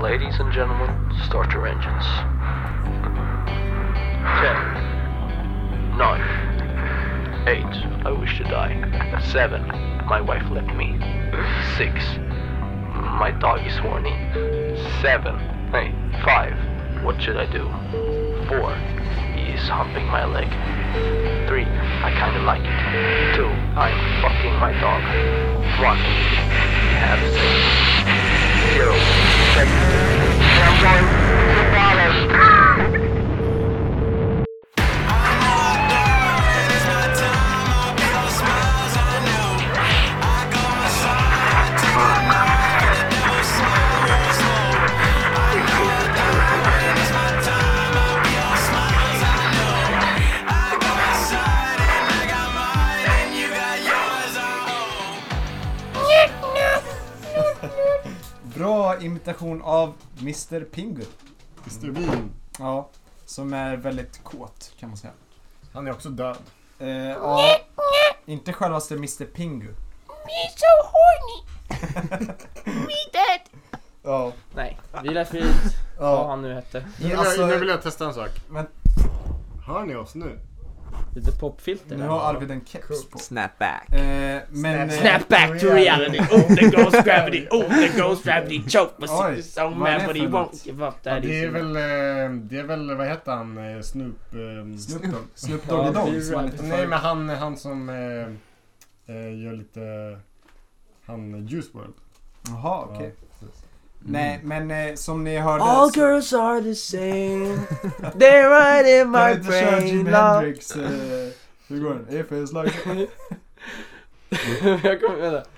Ladies and gentlemen, start your engines. Ten. Nine. Eight. I wish to die. Seven. My wife left me. Six. My dog is horny. Seven. Hey. Five. What should I do? Four. He's humping my leg. Three. I kinda like it. Two. I'm fucking my dog. One. We have sex. Zero. Sex. Someone. Bra imitation av Mr Pingu. Mr Bean. Ja, som är väldigt kåt kan man säga. Han är också död. Eh, ja, inte självaste Mr Pingu. Me so horny. Me dead. Ja. Nej, vila frid. Vad ja. han nu hette. Nu vill, Alltså, jag, nu vill jag testa en sak. Men- Hör ni oss nu? Lite popfilter. nu har Arvid en keps på. Snapback. Eh, men... eh, Snap back to reality. Oh there goes gravity. Oh there goes gravity. Choke my Oj, sister so vad är det mad but he för något? won't give up. Ja, That det är is väl, eh, det är väl, vad heter han, eh, Snoop? ehm, Snoop Dogg. Snoop Doggy Ja, det är Dogg som han heter Nej förut. men han, han som eh, eh, gör lite, han Juice WRLD. Jaha, okej. Ja, precis. Nej, men eh, som ni hörde... All så- girls are the same. They're right in Kan vi my inte köra brain. Jimi love. Hendrix... eh, Hur går den? If it's like... Jag kommer vänta.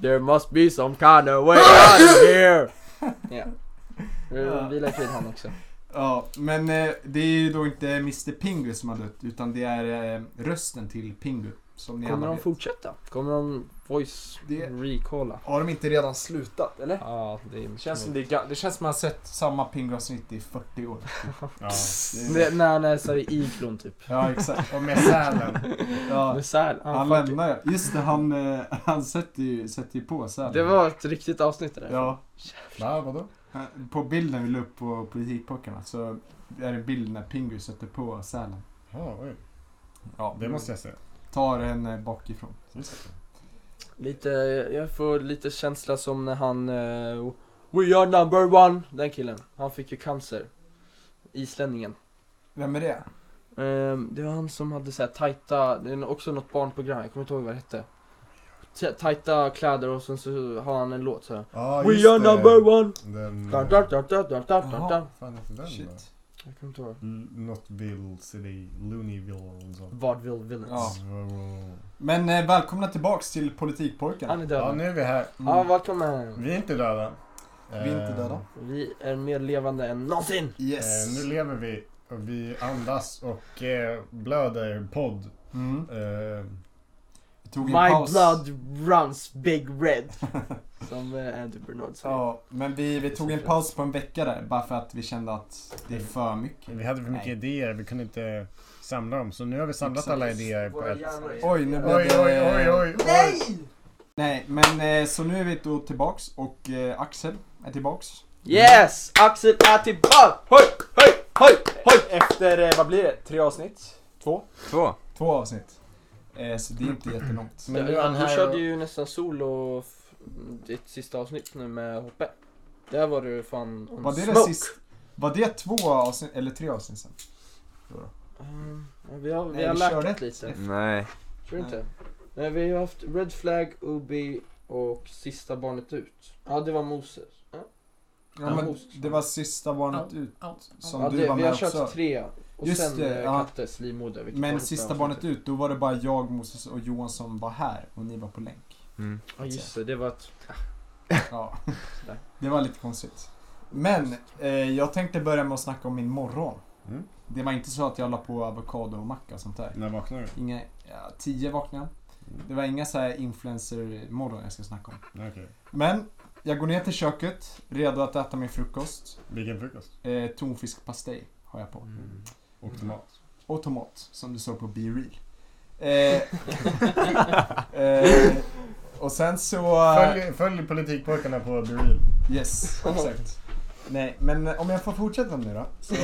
There must be some kind of way out of here. Ja. Ja. Nu Vila i frid han också. Ja, men eh, det är ju då inte Mr Pingu som har dött utan det är eh, rösten till Pingu. Som ni Kommer alla de vet. fortsätta? Kommer de voice Det- recalla? Har de inte redan slutat eller? Ja, det är Det känns som det, är ga- det känns som man har sett samma Pingu-avsnitt i 40 år. Ja. Det är, Det- När han är i iglon typ. ja, exakt. Och med sälen. Ja, Med sär, han han fucking- lämnar ju. Just det, han, eh, han sätter ju, sätter ju på sen. Det var ett riktigt avsnitt det där. Ja. Va, vadå? han- På bilden vi la upp på politikpockarna så är det en bild när Pingu sätter på sälen. Ja, oj. Ja, Det måste jag se. Tar en eh, bakifrån. Lite, jag får lite känsla som när han eh, We are number one, den killen. Han fick ju cancer. Islänningen. Vem är det? Ehm, det var han som hade så här tajta, det är också något barnprogram, jag kommer inte ihåg vad det hette. Ta- Tajta kläder och sen så har han en låt så här. Ja, We are number one! Den, eh, Dun, dun, dun, dun, dun, dun, dun, dun. Mm. Jaha. fan heter den då? Shit. Jag kommer inte ihåg. L- Notville City, Looneyville eller så. Vaudeville Villains. Ja. Men eh, välkomna tillbaks till Mm. politikpojkarna. Han är Ja, död. nu är vi här. Ja, välkommen! Vi är inte döda. Vi är inte Eh, döda. Vi är mer levande än någonsin! Yes. Eh, nu lever vi och vi andas och eh, blöder podd. Mm. Eh, Vi tog en My paus. blood runs big red. Som eh, Andy Bernard säger. Ja, men vi, vi tog en paus på en vecka där bara för att vi kände att det är för mycket. vi hade för mycket Nej. idéer, vi kunde inte samla dem. Så nu har vi samlat alla idéer på ett... Oj, nu blev Oj, det... eh, oj, oj, oj, oj! Nej! Nej, men eh, så nu är vi då tillbaks och eh, Axel är tillbaks. Yes! Axel är tillbaka! Hoj, hoj, hoj, hoj! Efter, eh, vad blir det? Tre avsnitt? Två? Två. Två avsnitt. Eh, så det är inte jättelångt. Men nu är han Du här körde och... ju nästan solo f- ditt sista avsnitt nu med Hoppe. Där var du fan on Var det, det smoke. sist, var det två avsnitt, eller tre avsnitt sen? Mm, ja, vi har, vi Nej, har vi lärt körde Mm. upp lite. Nej. Tror du Nej. inte? Nej, vi har haft Red Flag, Ubi och Sista Barnet Ut. Ja, det var Moses. Ja, Ja, men det var sista barnet ut som ja, du det, var vi med har kört också. tre. Och Just sen det, eh, ja. Kattes livmoder. vilket var Men ett bra sista avsnitt. barnet ut, då var det bara jag, Moses och Johan som var här och ni var på länk. Mm. Ja, just det. Det var ett... Ja, Sådär. det var lite konstigt. Men eh, jag tänkte börja med att snacka om min morgon. Mm. Det var inte så att jag la på avokado och macka och sånt där. När vaknar du? Inga, ja, tio vaknade Mm. jag. Det var inga så här influencer-morgon jag ska snacka om. Okej. Men jag går ner till köket, redo att äta min frukost. Vilken frukost? Eh, tonfiskpastej har jag Mm. på. Och tomat. Och tomat, som du såg på Be Real. Eh, eh, och sen så... Mm. Följ, följ politikpojkarna på Beril. Yes, exakt. Nej, men om jag får fortsätta nu då. Så...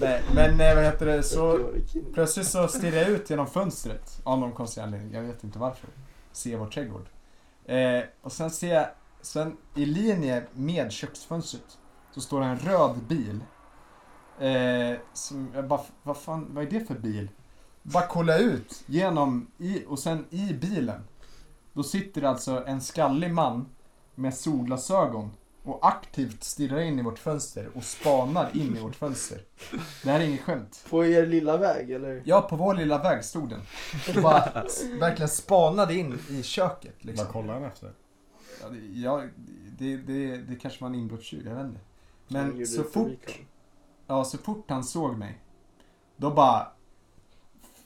Nej, men eh, vad heter det, så plötsligt så stirrar jag ut genom fönstret av någon konstig anledning, jag vet inte varför. Ser vår trädgård. Eh, och sen ser jag, sen i linje med köksfönstret så står det en röd bil. Eh, som jag bara, vad fan, vad är det för bil? Bara kolla ut genom, i, och sen i bilen. Då sitter det alltså en skallig man med solglasögon och aktivt stirrar in i vårt fönster och spanar in i vårt fönster. Det här är inget skämt. På er lilla väg eller? Ja, på vår lilla väg stod den. Och bara s- verkligen spanade in i köket liksom. Vad kollar han efter? Ja, det, ja, det, det, det kanske var en inbrottstjuv, jag vet inte. Men så fort, ja, så fort han såg mig, då bara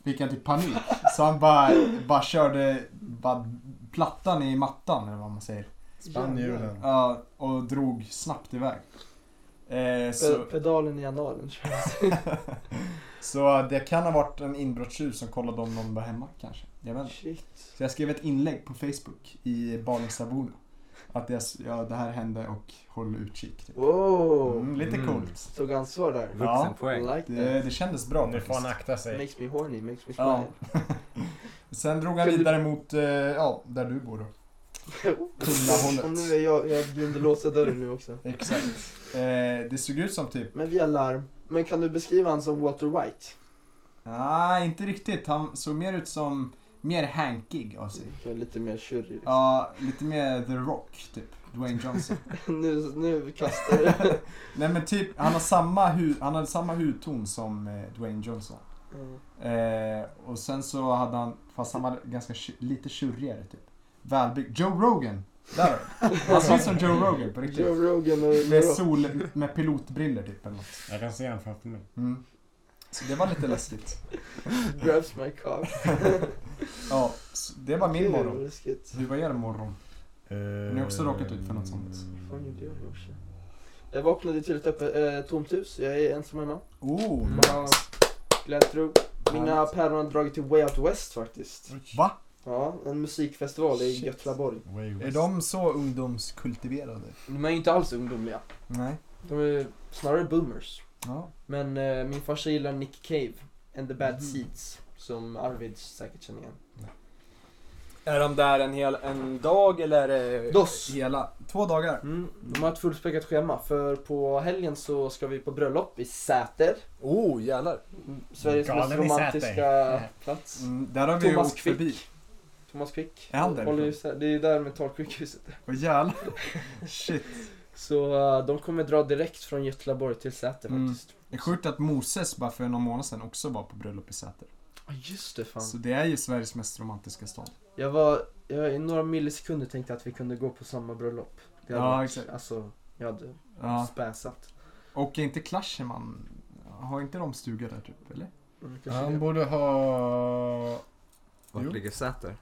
fick han typ panik. Så han bara, bara körde bara plattan i mattan eller vad man säger. Mm. Spann hjulen. Ja, och drog snabbt iväg. Eh, så, Pedalen i analen. så det kan ha varit en inbrottstjuv som kollade om någon var hemma kanske. Jag vet inte. Shit. Så jag skrev ett inlägg på Facebook i Balingstaborna. Att jag, s- ja, det här hände och håll utkik. Typ. Wow. Mm, lite Mm. coolt. Tog ansvar där. I Vuxenpoäng. like Det, that. det kändes bra Nu får han faktiskt. akta sig. Makes me horny, makes me Ja. smile. Sen drog han Kan du- vidare mot, eh, ja, där du bor då. Kungahållet. Om nu är jag, jag glömde låsa dörren nu också. Exakt. Eh, det såg ut som typ, Men via larm. Men kan du beskriva han som Walter White? nej Ah, inte riktigt. Han såg mer ut som, mer hankig av sig. Jag är lite mer tjurig. Liksom. Ja, lite mer The Rock typ. Dwayne Johnson. nu, nu kastar du. Nej men typ, han, har samma hu- han hade samma hudton som eh, Dwayne Johnson. Eh, och sen så hade han, fast han var ganska tju- lite tjurigare typ. Välbyggd. Joe Rogan! Där har du. Han ser ut som Joe Rogan på riktigt. Joe Rogan och Med sol, med pilotbriller typ eller något. Jag kan se han framför mig. Mm. Så det var lite läskigt. grabs my cock. Ja, så det var min Gud, morgon. läskigt. Hur var er morgon? Ni har också råkat ut för något sånt. Fan Eh, gjorde jag i morse? Jag vaknade till ett öppet, eh, tomt hus. Jag är ensam hemma. Oh, Mamma Gläntro. Mina päron har dragit till Way Out West faktiskt. va? Ja, en musikfestival i Shit. Göteborg. Way Är west. de så ungdomskultiverade? De är ju inte alls ungdomliga. Nej. De är snarare boomers. Ja. Men eh, min farsa gillar Nick Cave and the Bad Mhm. Seeds. Som Arvid säkert känner igen. Är de där en hel en dag eller? Är det... Dos! Hela två dagar. Mm, de har ett fullspäckat schema för på helgen så ska vi på bröllop i Säter. Oh jävlar. Sveriges Galen mest i Säter. romantiska plats. Mm, där har vi Thomas åkt förbi. Quick. Thomas Quick. Är han därifrån? Håller ju sä- Det är där mentalsjukhuset. Åh jävlar. Shit. Så eh, de kommer dra direkt från Göteborg till Säter Mm. faktiskt. Det är sjukt att Moses bara för någon månad sedan också var på bröllop i Säter. Ja just det fan. Så det är ju Sveriges mest romantiska stad. Jag var, jag i några millisekunder tänkte att vi kunde gå på samma bröllop. Det hade Ja, varit, exakt. Alltså, jag hade Ja. späsat. Och är inte Clasherman, har inte de stuga där typ, eller? Mm, kanske Han det. borde ha... Jo. Vart ligger Säter?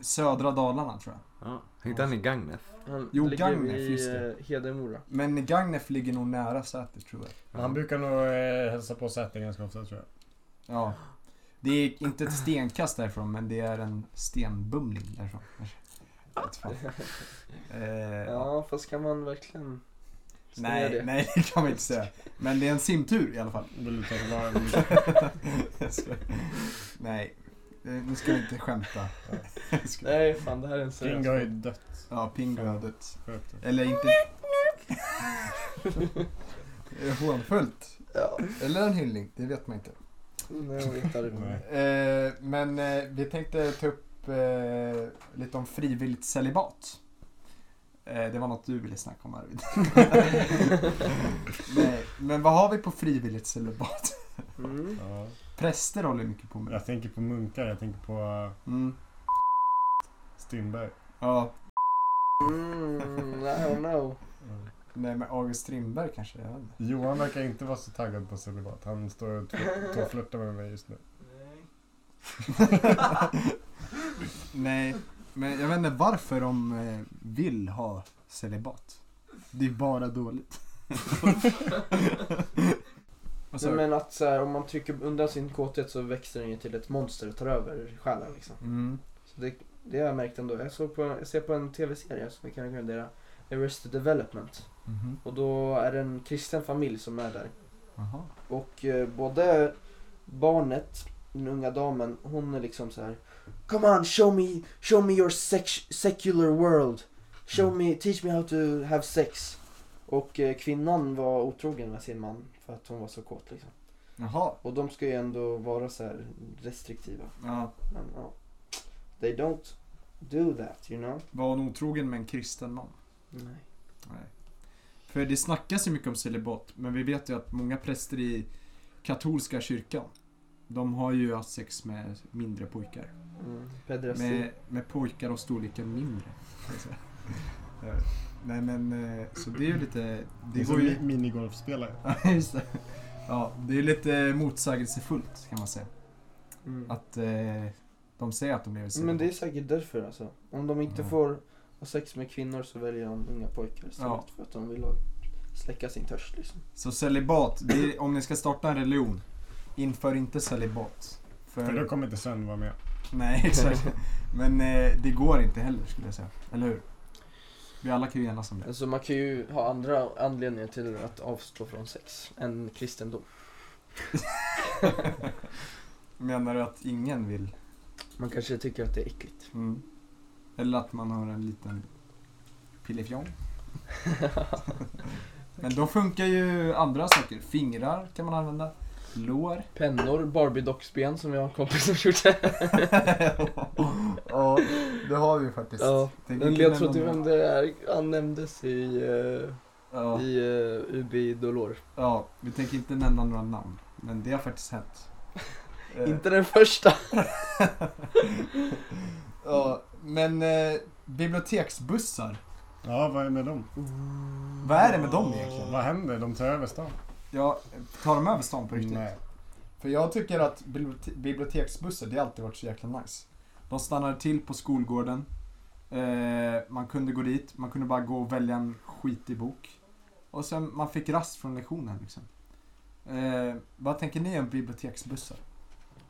Södra Dalarna tror jag. Ja. Hittade han i Gagnef? Han Jo, ligger Gagnef, i just det. eh, Hedemora. Men Gagnef ligger nog nära Säter tror jag. Han brukar nog eh, hälsa på Säter ganska ofta tror jag. Ja. Det är inte ett stenkast därifrån, men det är en stenbumling därifrån. kanske. Jag vet fan. Eh, ja. Ja fast kan man verkligen säga Nej, det? nej det kan man inte säga. Men det är en simtur i alla fall. Vill du ta tillbaka Jag skojar. nej, Eh, nu ska vi inte skämta. Jag skojar. Nej fan det här är en seriös Ringo har ju dött. Ja, Pingu har dött. Skönt. Eller inte... Eh, Hånfullt. Ja, Eller en hyllning, det vet man inte. nej jag vet inte. Nej. Eh, men eh, vi tänkte ta upp eh, lite om frivilligt celibat. Eh, det var något du ville snacka om Arvid. Nej, men vad har vi på frivilligt celibat? Mm. Ja. Präster håller mycket på med det. Jag tänker på munkar, jag tänker på eh, Mm. Strindberg. Ja, Mm, I don't know. Ja. nej men August Strindberg kanske. Jag vet inte. Mm. Johan verkar inte vara så taggad på celibat. Han står och tw- står och flörtar med mig just nu. Nej, men jag vet inte varför de eh, vill ha celibat. Det är bara dåligt. Vad sa Nej, du? men att så här, om man trycker undan sin kåthet så växer den ju till ett monster och tar över själen liksom. Mm. Så det, det har jag märkt ändå. Jag, såg på, jag ser på en tv-serie som vi kan rekommendera. Arrested Development. Mhm. Och då är det en kristen familj som är där. Jaha. Och eh, både barnet, den unga damen, hon är liksom så här. Come on, show me, show me your sex, secular world. Show me, teach me how to have sex. Och eh, kvinnan var otrogen med sin man för att hon var så kåt liksom. Jaha. Och de ska ju ändå vara så här restriktiva. Ja. Men ja, they don't do that, you know. Var hon otrogen med en kristen man? Nej. Nej. För det snackas ju mycket om celibat, men vi vet ju att många präster i katolska kyrkan, de har ju haft sex med mindre pojkar. Mm. Pedrasi. Med, med pojkar av storleken mindre. Alltså. Eh, Nej men, eh, så det är ju lite... Det går ju... minigolfspelare. Ja, just det. Ja, det är ju lite motsägelsefullt kan man säga. Mm. Att eh, de säger att de lever celibat. Men det är säkert därför alltså. Om de inte Ja. får ha sex med kvinnor så väljer de unga pojkar istället Ja. för att de vill ha, släcka sin törst liksom. Så celibat, det är, om ni ska starta en religion, inför inte celibat. För då kommer inte Sven vara med. Nej, exakt. Men eh, det går inte heller skulle jag säga. Eller hur? Vi alla kan ju enas om det. Alltså man kan ju ha andra anledningar till att avstå från sex än kristendom. Menar du att ingen vill? Man kanske tycker att det är äckligt. Mm. Eller att man har en liten pillefjong? Men då funkar ju andra saker. Fingrar kan man använda. Lår. Pennor, Barbie-dockben som jag har en kompis som gjorde. ja, det har vi ju faktiskt. Ja, Tänk men vilken jag tror inte ändå- vem det är. Han nämndes i, eh, ja, i eh, UB Dolor. ja, vi tänker inte nämna några namn. Men det har faktiskt hänt. Eh, Inte den första. Ja, men eh, biblioteksbussar. Ja, vad är med dem? Vad är det med dem egentligen? Vad händer? De tar över stan. Ja, tar de över stan på riktigt? Nej. För jag tycker att bibliote- biblioteksbussar, det har alltid varit så jäkla nice. De stannade till på skolgården. Eh, man kunde gå dit, man kunde bara gå och välja en skitig bok. Och sen man fick rast från lektionen liksom. Eh, vad tänker ni om biblioteksbussar?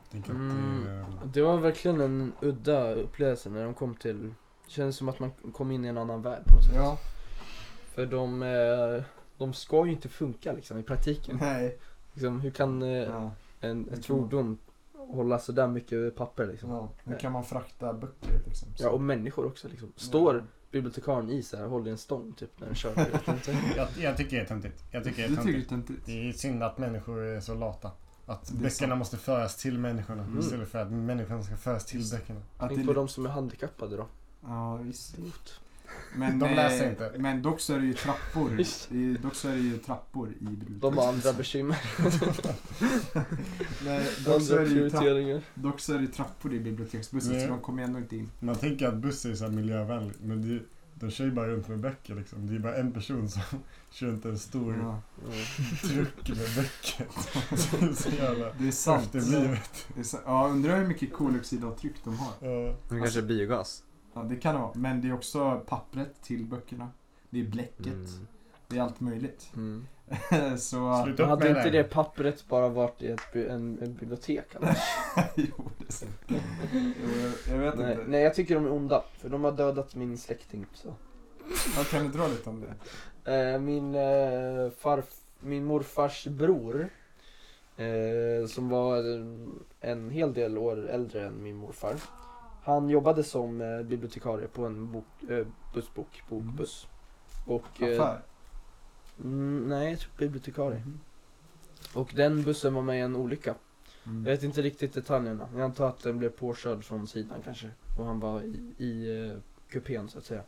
Jag tänker att Mm. det är, eh, Det var verkligen en udda upplevelse när de kom till, det kändes som att man kom in i en annan värld på något sätt. Ja. För de, eh, de ska ju inte funka liksom i praktiken. Nej. Liksom, hur kan eh, Ja. en, ett kan man- fordon hålla sådär mycket papper liksom? Ja. Hur kan man frakta böcker liksom? Ja, och människor också liksom. Står bibliotekarien i så här, håller i en stång typ när den kör? Jag vet inte. jag, jag tycker det är töntigt. Jag tycker det är Du tycker det är töntigt. töntigt? Det är synd att människor är så lata. Att Det är böckerna sant. måste föras till människorna Mm. istället för att människan ska föras till böckerna. Att det är Tänk på lite- de som är handikappade då. Ja, visst. Idiot. Men, De läser eh, inte. Men dock så är det ju trappor. Visst. I, dock så är det ju trappor i biblioteket. De har andra bekymmer, Nej, dock, så andra är det ju trapp, prioriteringar. dock så är det ju trappor i biblioteksbussen Nej. så de kommer ändå inte in. Man tänker att buss är så här miljövänligt men det, de kör ju bara runt med böcker liksom. Det är bara en person som kör runt en stor Ja, Mm. truck med böcker. Det är så jävla det är sant. efterblivet. Det är sa- ja, undrar hur mycket koldioxidavtryck de har. Ja. Men kanske biogas? Ja, det kan det vara. Men det är också pappret till böckerna. Det är bläcket. Mm. Det är allt möjligt. Mm. så... Sluta Men upp med hade inte det det pappret bara varit i ett, bi- en, en bibliotek annars? jo, det är sant. Jo, jag, jag vet nej, inte. nej, jag tycker de är onda. För de har dödat min släkting. Så. Ja, kan du dra lite om det? Eh, min, eh, farf, min morfars bror, eh, som var en hel del år äldre än min morfar. Han jobbade som eh, bibliotekarie på en bok, eh, bussbok, bokbuss. Och, eh, Affär? mm, nej, jag tror bibliotekarie. Och den bussen var med i en olycka. Jag Mm. vet inte riktigt detaljerna. Jag antar att den blev påkörd från sidan kanske. Och han var i, i eh, kupén så att säga.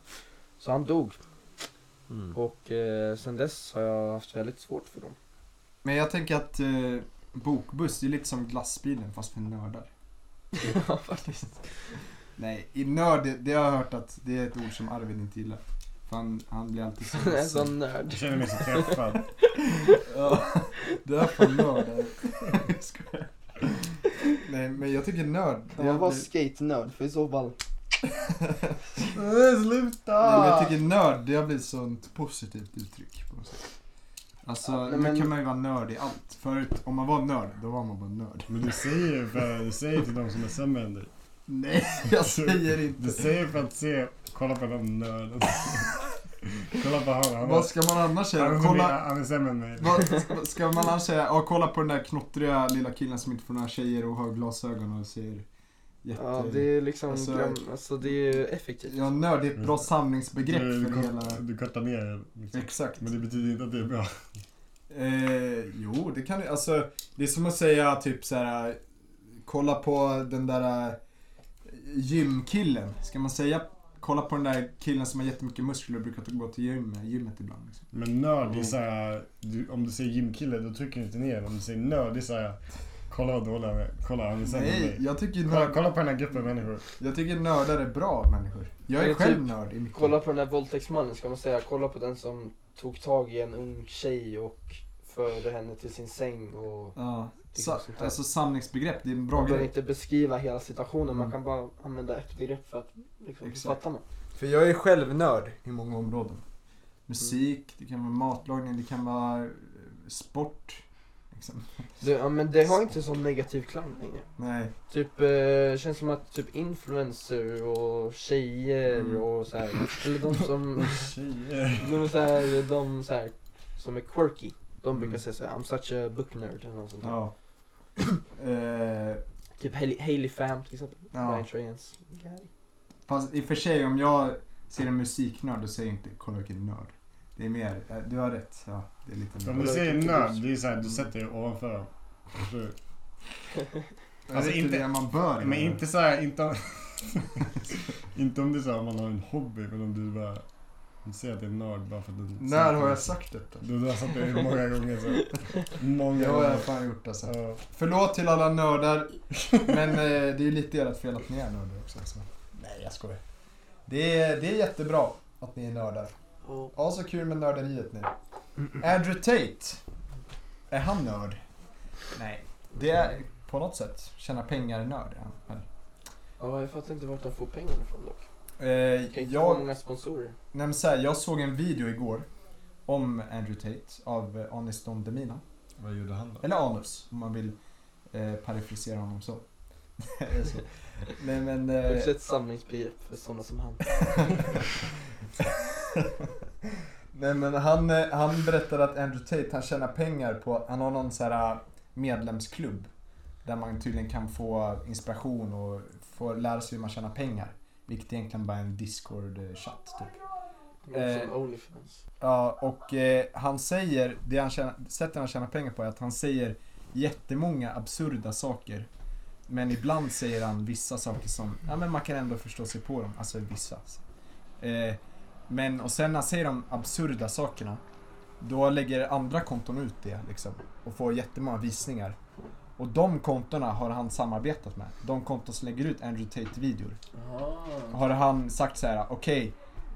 Så han dog. Mm. Och eh, sen dess har jag haft väldigt svårt för dem. Men jag tänker att eh, bokbuss, det är lite som glassbilen fast för nördar. ja faktiskt. Nej, i nörd, det, det har jag hört att det är ett ord som Arvid inte gillar. För han, han blir alltid så En ledsen. sån nörd. Jag känner mig så träffad. Ja, det är fan nörd. Jag skojar. Nej, men jag tycker nörd. Det är, Jag var alltid- skate-nörd för i så fall. Nej, Sluta! Nej, men jag tycker nörd, det har blivit sånt positivt uttryck på något sätt. Alltså, Ja, nej, nu men- kan man ju vara nörd i allt. Förut, om man var nörd, då var man bara nörd. Men du säger ju för, du säger till de som är sämre än dig. Nej, jag säger Du inte. säger för att se, kolla på den nörden. Kolla på honom. Han, Vad är- ska man annars han, säga? är, kolla... Kolla, han är sämre än mig. vad, ska man annars säga? Ja, kolla på den där knottriga lilla killen som inte får några tjejer och har glasögon och ser jätte... Ja, det är liksom, Alltså- glöm, alltså det är ju effektivt. Ja, nörd är ett bra samlingsbegrepp du, för du, hela... kort, du kortar ner liksom. Exakt. Mm, Men det betyder inte att det är bra. Eh, jo, det kan alltså Det är som att säga typ så här. Kolla på den där eh, gymkillen. Ska man säga kolla på den där killen som har jättemycket muskler och brukar gå till gym, gymmet ibland? Liksom. Men nörd är såhär, du, om du säger gymkille då trycker du inte ner den. Om du säger nörd det är såhär, kolla vad dålig han är. Kolla han är sämre än Nej, mig. jag tycker, Kolla, nörd, kolla på den här gruppen människor. jag tycker nördar är bra människor. Jag är Jag själv typ- nörd i mitt Kolla på den där våldtäktsmannen, ska man säga kolla på den som tog tag i en ung tjej och förde henne till sin säng och Ja, Tycker sa, sånt där. alltså samlingsbegrepp, det är en bra man behöver grej. inte beskriva hela situationen, Mm. man kan bara använda ett begrepp för att liksom, Exakt. fatta man. För jag är själv nörd. I många områden. Musik, det kan vara matlagning, det kan vara eh, sport. Liksom. Det, ja, men det har inte sån negativ klang längre. Nej. Typ, eh, känns som att typ influencer och tjejer Mm. och så här, eller de som, Tjejer. de, så här, de så här, som är quirky. De brukar Mm. säga såhär, I'm such a book nerd eller något sånt där. Ja. Eh, Typ Hailey, Hailey Fam till exempel. Ja. Ryan Trehans. Fast i och för sig om jag ser en musiknörd då säger jag inte kolla vilken nörd. Det är mer, eh, du har rätt. Ja, det är lite Om du nörd. säger nörd, det är såhär, du sätter dig ovanför. Förstår du? Alltså inte inte- det man bör. Men göra. inte såhär, inte om... inte om det är såhär man har en hobby, men om du bara... Du säger att det är nörd bara för att du... När har jag sagt detta? Du, du har sagt det många gånger så. Många Det har gånger. jag fan gjort alltså. Ja. Förlåt till alla nördar. men eh, det är ju lite ert fel att ni är nördar också. Så. Nej jag skojar. Det är, det är jättebra att ni är nördar. Ja. Ja så kul med nörderiet nu. Andrew Tate. Är han nörd? Nej. Det är på något sätt. Tjäna pengar-nörd är han väl? Ja, jag fattar inte vart de får pengarna ifrån dock. Jag kan Eh, inte få jag, många sponsorer. nej, men så här, jag såg en video igår om Andrew Tate av eh, Anis Don Demina. Vad gjorde han då? Eller Anus om man vill eh, parafrasera honom så. så. Nej men... Det är Eh, också ett samlingsbegrepp för sådana som han. nej men han, eh, han berättade att Andrew Tate han tjänar pengar på, han har någon så här eh, medlemsklubb. Där man tydligen kan få inspiration och få lära sig hur man tjänar pengar. Vilket egentligen bara är en discord-chatt typ. Något Eh. som Onlyfans. Ja, och eh, han säger, det han tjänar, sättet han tjänar pengar på är att han säger jättemånga absurda saker. Men ibland säger han vissa saker som, ja men man kan ändå förstå sig på dem, alltså vissa. Eh, men och sen när han säger de absurda sakerna, då lägger andra konton ut det liksom. Och får jättemånga visningar. Och de kontona har han samarbetat med. De konton som lägger ut Andrew Tate-videor har han sagt så här: okej,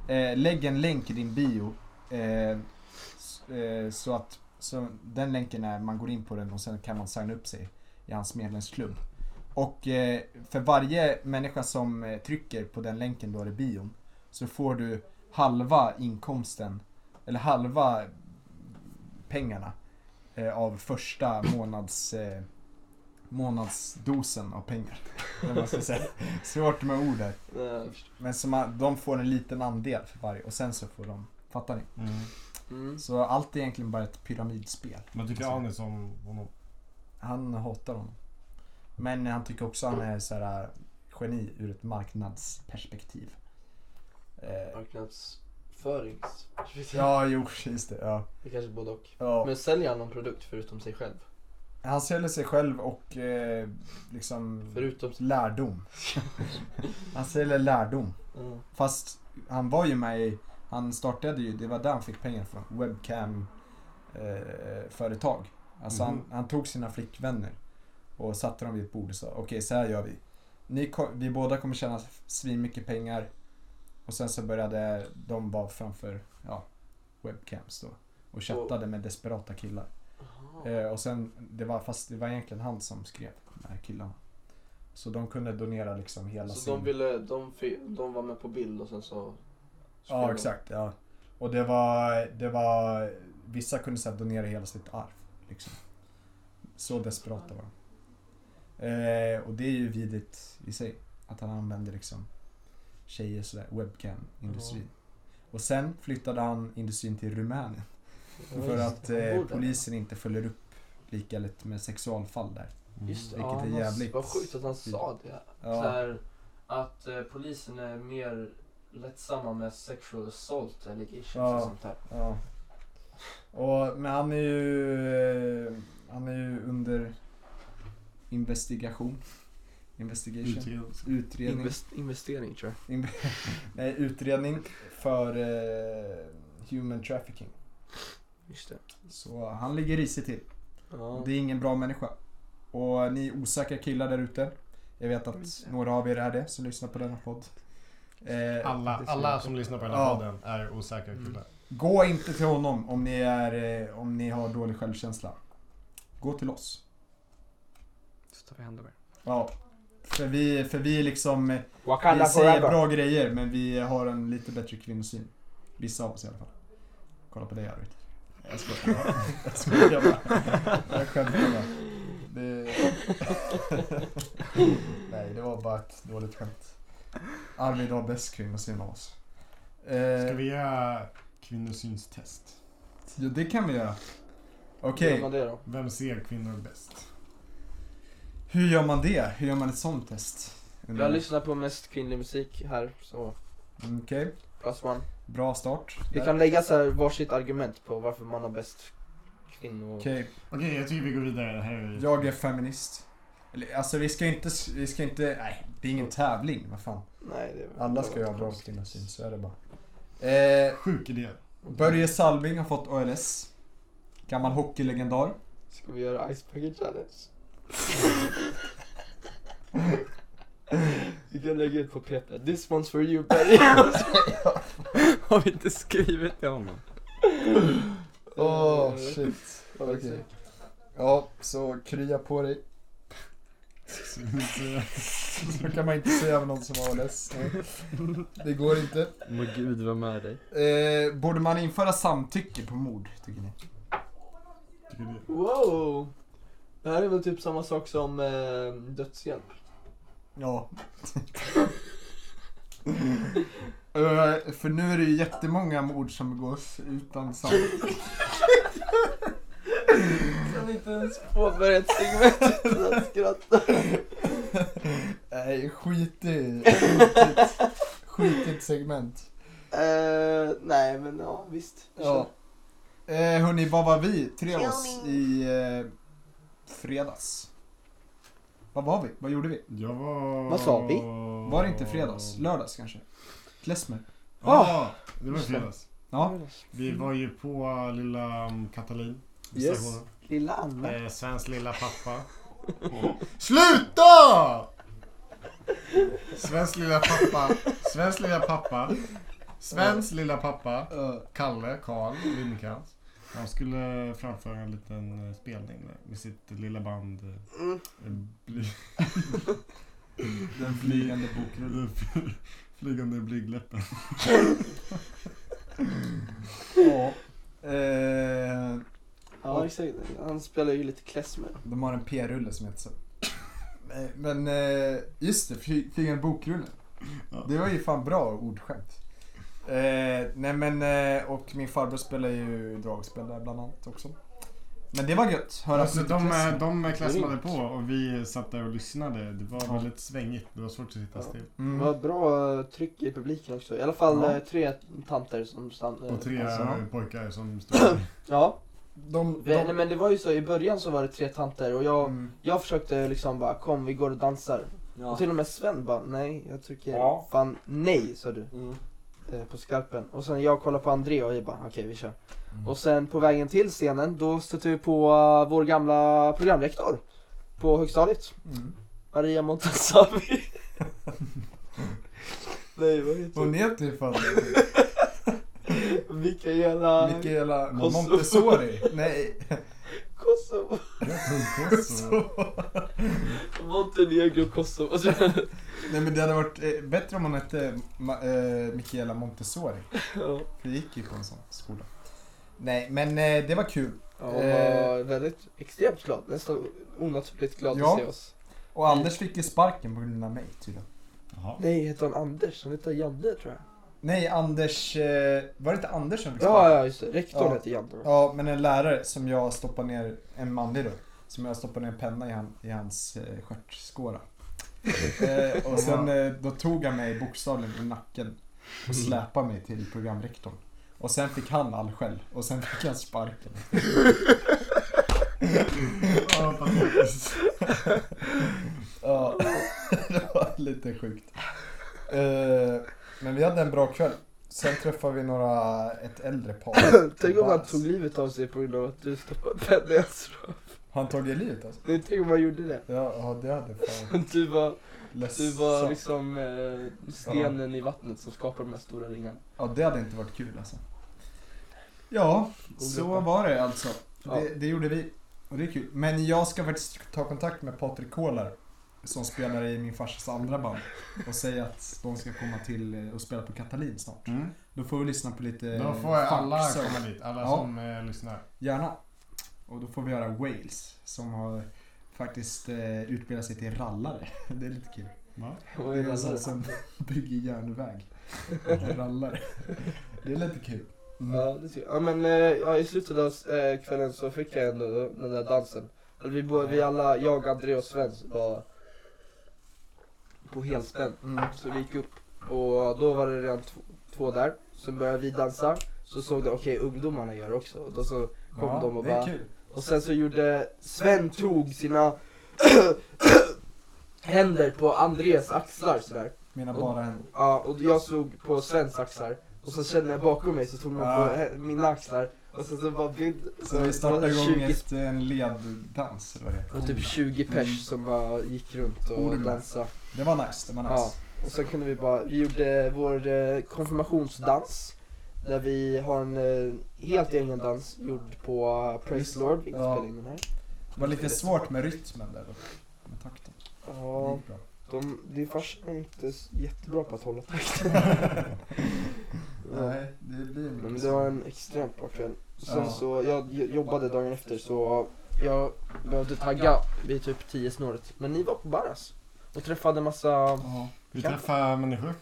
eh, lägg en länk i din bio eh, s- eh, så att så den länken är, man går in på den och sen kan man signa upp sig i hans medlemsklubb. Och eh, för varje människa som eh, trycker på den länken du har i bion så får du halva inkomsten, eller halva pengarna eh, av första månads eh, månadsdosen av pengar. Eller vad man ska säga. Svårt med ord där. Eh, Men så man, de får en liten andel för varje och sen så får de, fattar ni? Mm. Mm. Så allt är egentligen bara ett pyramidspel. Vad tycker Anis om honom? Han hatar honom. Men han tycker också han är så här geni ur ett marknadsperspektiv. Eh, Marknadsförings... ja, jo, precis det. Ja. Det kanske är både och. Ja. Mm. Men säljer han någon produkt förutom sig själv? Han säljer sig själv och eh, liksom Förutom sig... lärdom. han säljer lärdom. Mm. Fast han var ju med i, han startade ju, det var där han fick pengar från, webcam-företag. alltså han, Mhm. han tog sina flickvänner och satte dem vid ett bord och sa okej så här gör vi. Ni, ko- vi båda kommer tjäna svin mycket pengar. Och sen så började de vara framför ja, webcams då och chattade med desperata killar. Ah. Eh, och sen, det var, fast det var egentligen han som skrev, de här killarna. Så de kunde donera liksom hela Så de ville... De, fi- de var med på bild och sen så... Ja, exakt. Ja. Och det var, det var... Vissa kunde så här donera hela sitt arv. Liksom. Så desperata var de. Eh, och det är ju vidrigt i sig. Att han använder liksom tjejer sådär, webcam-industrin. Och sen flyttade han industrin till Rumänien. För att eh, Borde. polisen inte följer upp lika lätt med sexualfall där. Mm. Just det. Vilket är han s- jävligt. Vad sjukt att han sa det. Så Ja. här, att eh, polisen är mer lättsamma med sexual assault allegations Ja. och sånt där. Ja. Och, men han är ju eh, han är ju under investigation. Investigation. Utredning. Invest- investering tror jag. Nej, utredning för eh, human trafficking. Just det. Så han ligger risigt till. Ja. Det är ingen bra människa. Och ni osäkra killar där ute. Jag vet att några av er är det som lyssnar på denna podd. Eh, Alla, alla som lyssnar på den här Ja. podden är osäkra killar. gå inte till honom om ni, är, eh, om ni har dålig självkänsla. Gå till oss. Så tar vi hand om er. Ja. För vi, för vi liksom, eh, Wakanda vi säger forever. bra grejer men vi har en lite bättre kvinnosyn. Vissa av oss i alla fall. Kolla på dig Arvid. Jag skojar bara. Jag skojar bara. Jag skämtar bara. Det... Nej, det var bara ett dåligt skämt. Arvid har bäst kvinnosyn av oss. Eh, Ska vi göra kvinnosynstest? Jo, det kan vi göra. Okej, Gör man det då? Vem ser kvinnor bäst? hur gör man det? Hur gör man ett sånt test? Jag lyssnar på mest kvinnlig musik här, så Mm, Okej, pass man. bra start. Vi kan lägga så här varsitt argument på varför man har bäst kvinnor... Okej, Okej, jag tycker vi går vidare. Det här är Jag är feminist. Eller, alltså vi ska inte, vi ska inte, nej det är ingen tävling, vad fan. Nej, det Alla ska ju ha bra kvinnosyn, så är det bara. Eh, sjuk idé. Börje Salming har fått ALS. Gammal hockeylegendar. Ska vi göra Ice Bucket Challenge? Vi kan lägga ut på PP. This one's for you Berry. Har vi inte skrivit till honom? Åh Eh, shit. Okej. Ja, så krya på dig. Så kan man inte säga om någon som har ALS. Nej. Det går inte. Må gud vara med dig. Eh, borde man införa samtycke på mord, tycker ni? Tycker du? Wow! Det här är väl typ samma sak som eh, dödshjälp? Ja. Eh, För nu är det ju jättemånga mord som begås utan sam... Kan inte ens påbörja ett segment utan att skratta. Nej, skit i... Skitigt, skitigt segment. Eh, nej men ja, visst. Ja. Eh, hörni, vad var vi? Tre av oss i eh, fredags. Vad var vi? Vad gjorde vi? Jag var... Vad sa vi? Var det inte fredags? Lördags kanske? Klesmer? Ja, det var i fredags. Ja. Vi var ju på lilla um, Katalin. Yes. stationen. Lilla Anna. Eh, Svens lilla pappa. Sluta! Svens lilla pappa. Svens lilla pappa. Svens lilla pappa. Eh, Kalle, Karl Lindkrantz. Han skulle framföra en liten eh, spelning där med sitt lilla band. eh, eh, Bly, den flygande bokrullen. den fly- flygande blygdläppen. Ja. Eh, Ja exakt, han spelar ju lite klezmer. De har en p-rulle som heter så. Nej, Men eh, just det, fly- flygande bokrullen. Ja. Det var ju fan bra ordskämt. Eh, nej men, eh, och min farbror spelar ju dragspel där bland annat också. Men det var gött. Höra Alltså, på lite de, eh, klass. de klassade på och vi satt där och lyssnade. Det var Ja. väldigt svängigt. Det var svårt att sitta Ja. still. Det mm. var bra eh, tryck i publiken också. I alla fall Ja. eh, tre tanter som stannade. Och tre Alltså, ja. eh, pojkar som stod Ja. de, Vi, de, nej, men det var ju så i början så var det tre tanter och jag, mm. jag försökte liksom bara kom vi går och dansar. Ja. Och Typ, till och med Sven bara nej jag tycker Ja. fan nej sa du Mm. eh, på skarpen. Och sen jag kollade på André och jag bara okej vi kör. Och sen på vägen till scenen då stötte vi på eh, vår gamla programrektor på högstadiet. Mm. Maria Montazami. nej vad heter Hon hon? heter ju fan Mikaela Michaela Kosovo. Montessori. Nej, Kosovo. Kosovo. Montenegro Kosovo. Alltså, nej men det hade varit eh, bättre om hon hette Ma- eh, Michaela Montessori. ja. Vi gick ju på en sån skola. Nej men eh, det var kul. Ja, hon var Eh. väldigt extremt glad, nästan onaturligt glad Ja. att se oss. Och Anders fick ju sparken på grund av mig tydligen. Jaha. Nej, heter hon Anders? Hon heter Janne tror jag. Nej, Anders... Eh, var det inte Anders som fick Ja, sparken? ja just det. Rektorn Ja. heter Hjalmar. Ja, men en lärare som jag stoppar ner, en manlig då, som jag stoppar ner en penna i, han, i hans eh, stjärtskåra. eh, och sen eh, då tog han mig bokstavligen i nacken och släpade mig till programrektorn. Och sen fick han all skäll och sen fick han sparken. Ja, patetiskt. Ja, det var lite sjukt. Eh, men vi hade en bra kväll. Sen träffade vi några, ett äldre par. Tänk om han tog livet av sig på grund av att du stoppade pennan i hans röv. Han tog ju livet alltså? Nej, Tänk om han gjorde det. Ja, ja, det hade fan Du var, du var ledsamt. liksom eh, stenen i vattnet som skapar de här stora ringarna. Ja, det hade inte varit kul alltså. Ja, så var det alltså. Det, det gjorde vi. Och det är kul. Men jag ska faktiskt ta kontakt med Patrik Kålar som spelar i min farsas andra band och säga att de ska komma till eh, och spela på Katalin snart. Mm. Då får vi lyssna på lite Då får jag alla funk, så- komma dit, alla Ja. som eh, lyssnar. Gärna. Och då får vi göra Wales som har faktiskt eh, utbildat sig till rallare. Det är lite kul. Va? Det är alltså som bygger järnväg. Rallare. Det är lite kul. Ja, det ser jag. ja men eh, ja, i slutet av eh, kvällen så fick jag ändå den där dansen. Eller Vi, bo- vi alla, jag, André och Sven var på helspänn. Mm. Så vi gick upp och då var det redan två, två där. Sen började vi dansa. Så såg de, okej ungdomarna gör det också. Och då så kom Ja, de och det är bara... kul. Och sen så gjorde Sven tog sina händer på Andrés axlar sådär. Mina bara en... Ja, och jag såg på Svens axlar och så kände jag bakom mig så tog man på Ja. he- mina axlar och sen så typ bara bild Så vi startade det var igång 20, ett, en leddans eller vad det det var heter. typ 20 pers som bara gick runt och Ormen. dansade. Det var nice, det var nice. Ja. Och sen kunde vi bara, vi gjorde vår eh, konfirmationsdans där vi har en eh, helt egen dans gjord på eh, Praise Lord, vi Ja. spelade in den här. Det var lite svårt med rytmen där då. Med takten. Det Ja, gick bra. de, din farsa är inte s- jättebra på att hålla takten. Ja. Nej, det blir mycket Men det var en extremt bra kväll. Sen Ja. så, jag j- jobbade dagen efter så jag behövde tagga vid typ 10 snåret. Men ni var på Barras och träffade massa... Ja. Vi träffar människor.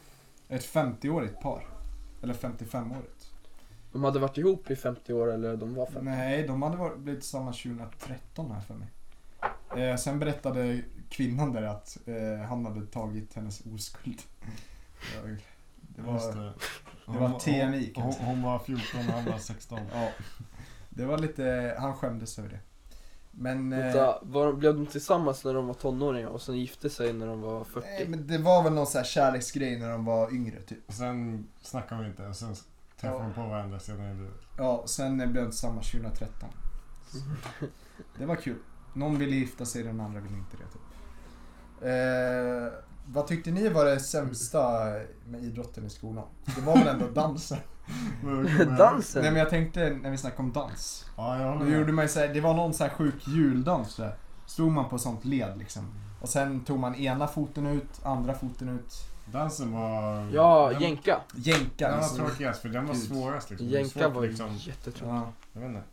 Ett 50-årigt par. Eller 55-årigt. De hade varit ihop i 50 år eller de var 50. Nej, de hade varit, blivit tillsammans 2013 här för mig. Eh, sen berättade kvinnan där att eh, han hade tagit hennes oskuld. Det var- Det Just var, det. det var TMI Hon, kanske. hon var 14 och han var 16. Ja. Det var lite, han skämdes över det. Men... eh, Vänta, var, de- blev de tillsammans när de var tonåringar och sen gifte sig när de var 40? Nej, men det var väl någon så här kärleksgrej när de var yngre typ. Och Sen snackade vi inte och sen träffade Ja. vi på varandra senare i livet. Ja, och sen blev de tillsammans 2013. Det var kul. Någon ville gifta sig, den andra ville inte det typ. Eh, vad tyckte ni var det sämsta med idrotten i skolan? Det var väl ändå dansen? Men vi kommer- Dansen? Nej men jag tänkte när vi snackade om dans. Ja, jag Då håller gjorde med. man ju så här, det var någon så här sjuk juldans där. Stod man på sånt led liksom. Och sen tog man ena foten ut, andra foten ut. Dansen var... Ja, den, jänka. Jänka. Den var liksom. tråkigast för den var Gud. svårast liksom. Mm. Det Jänka svårt, var ju liksom. jättetråkigt. Ja. Jag vet inte.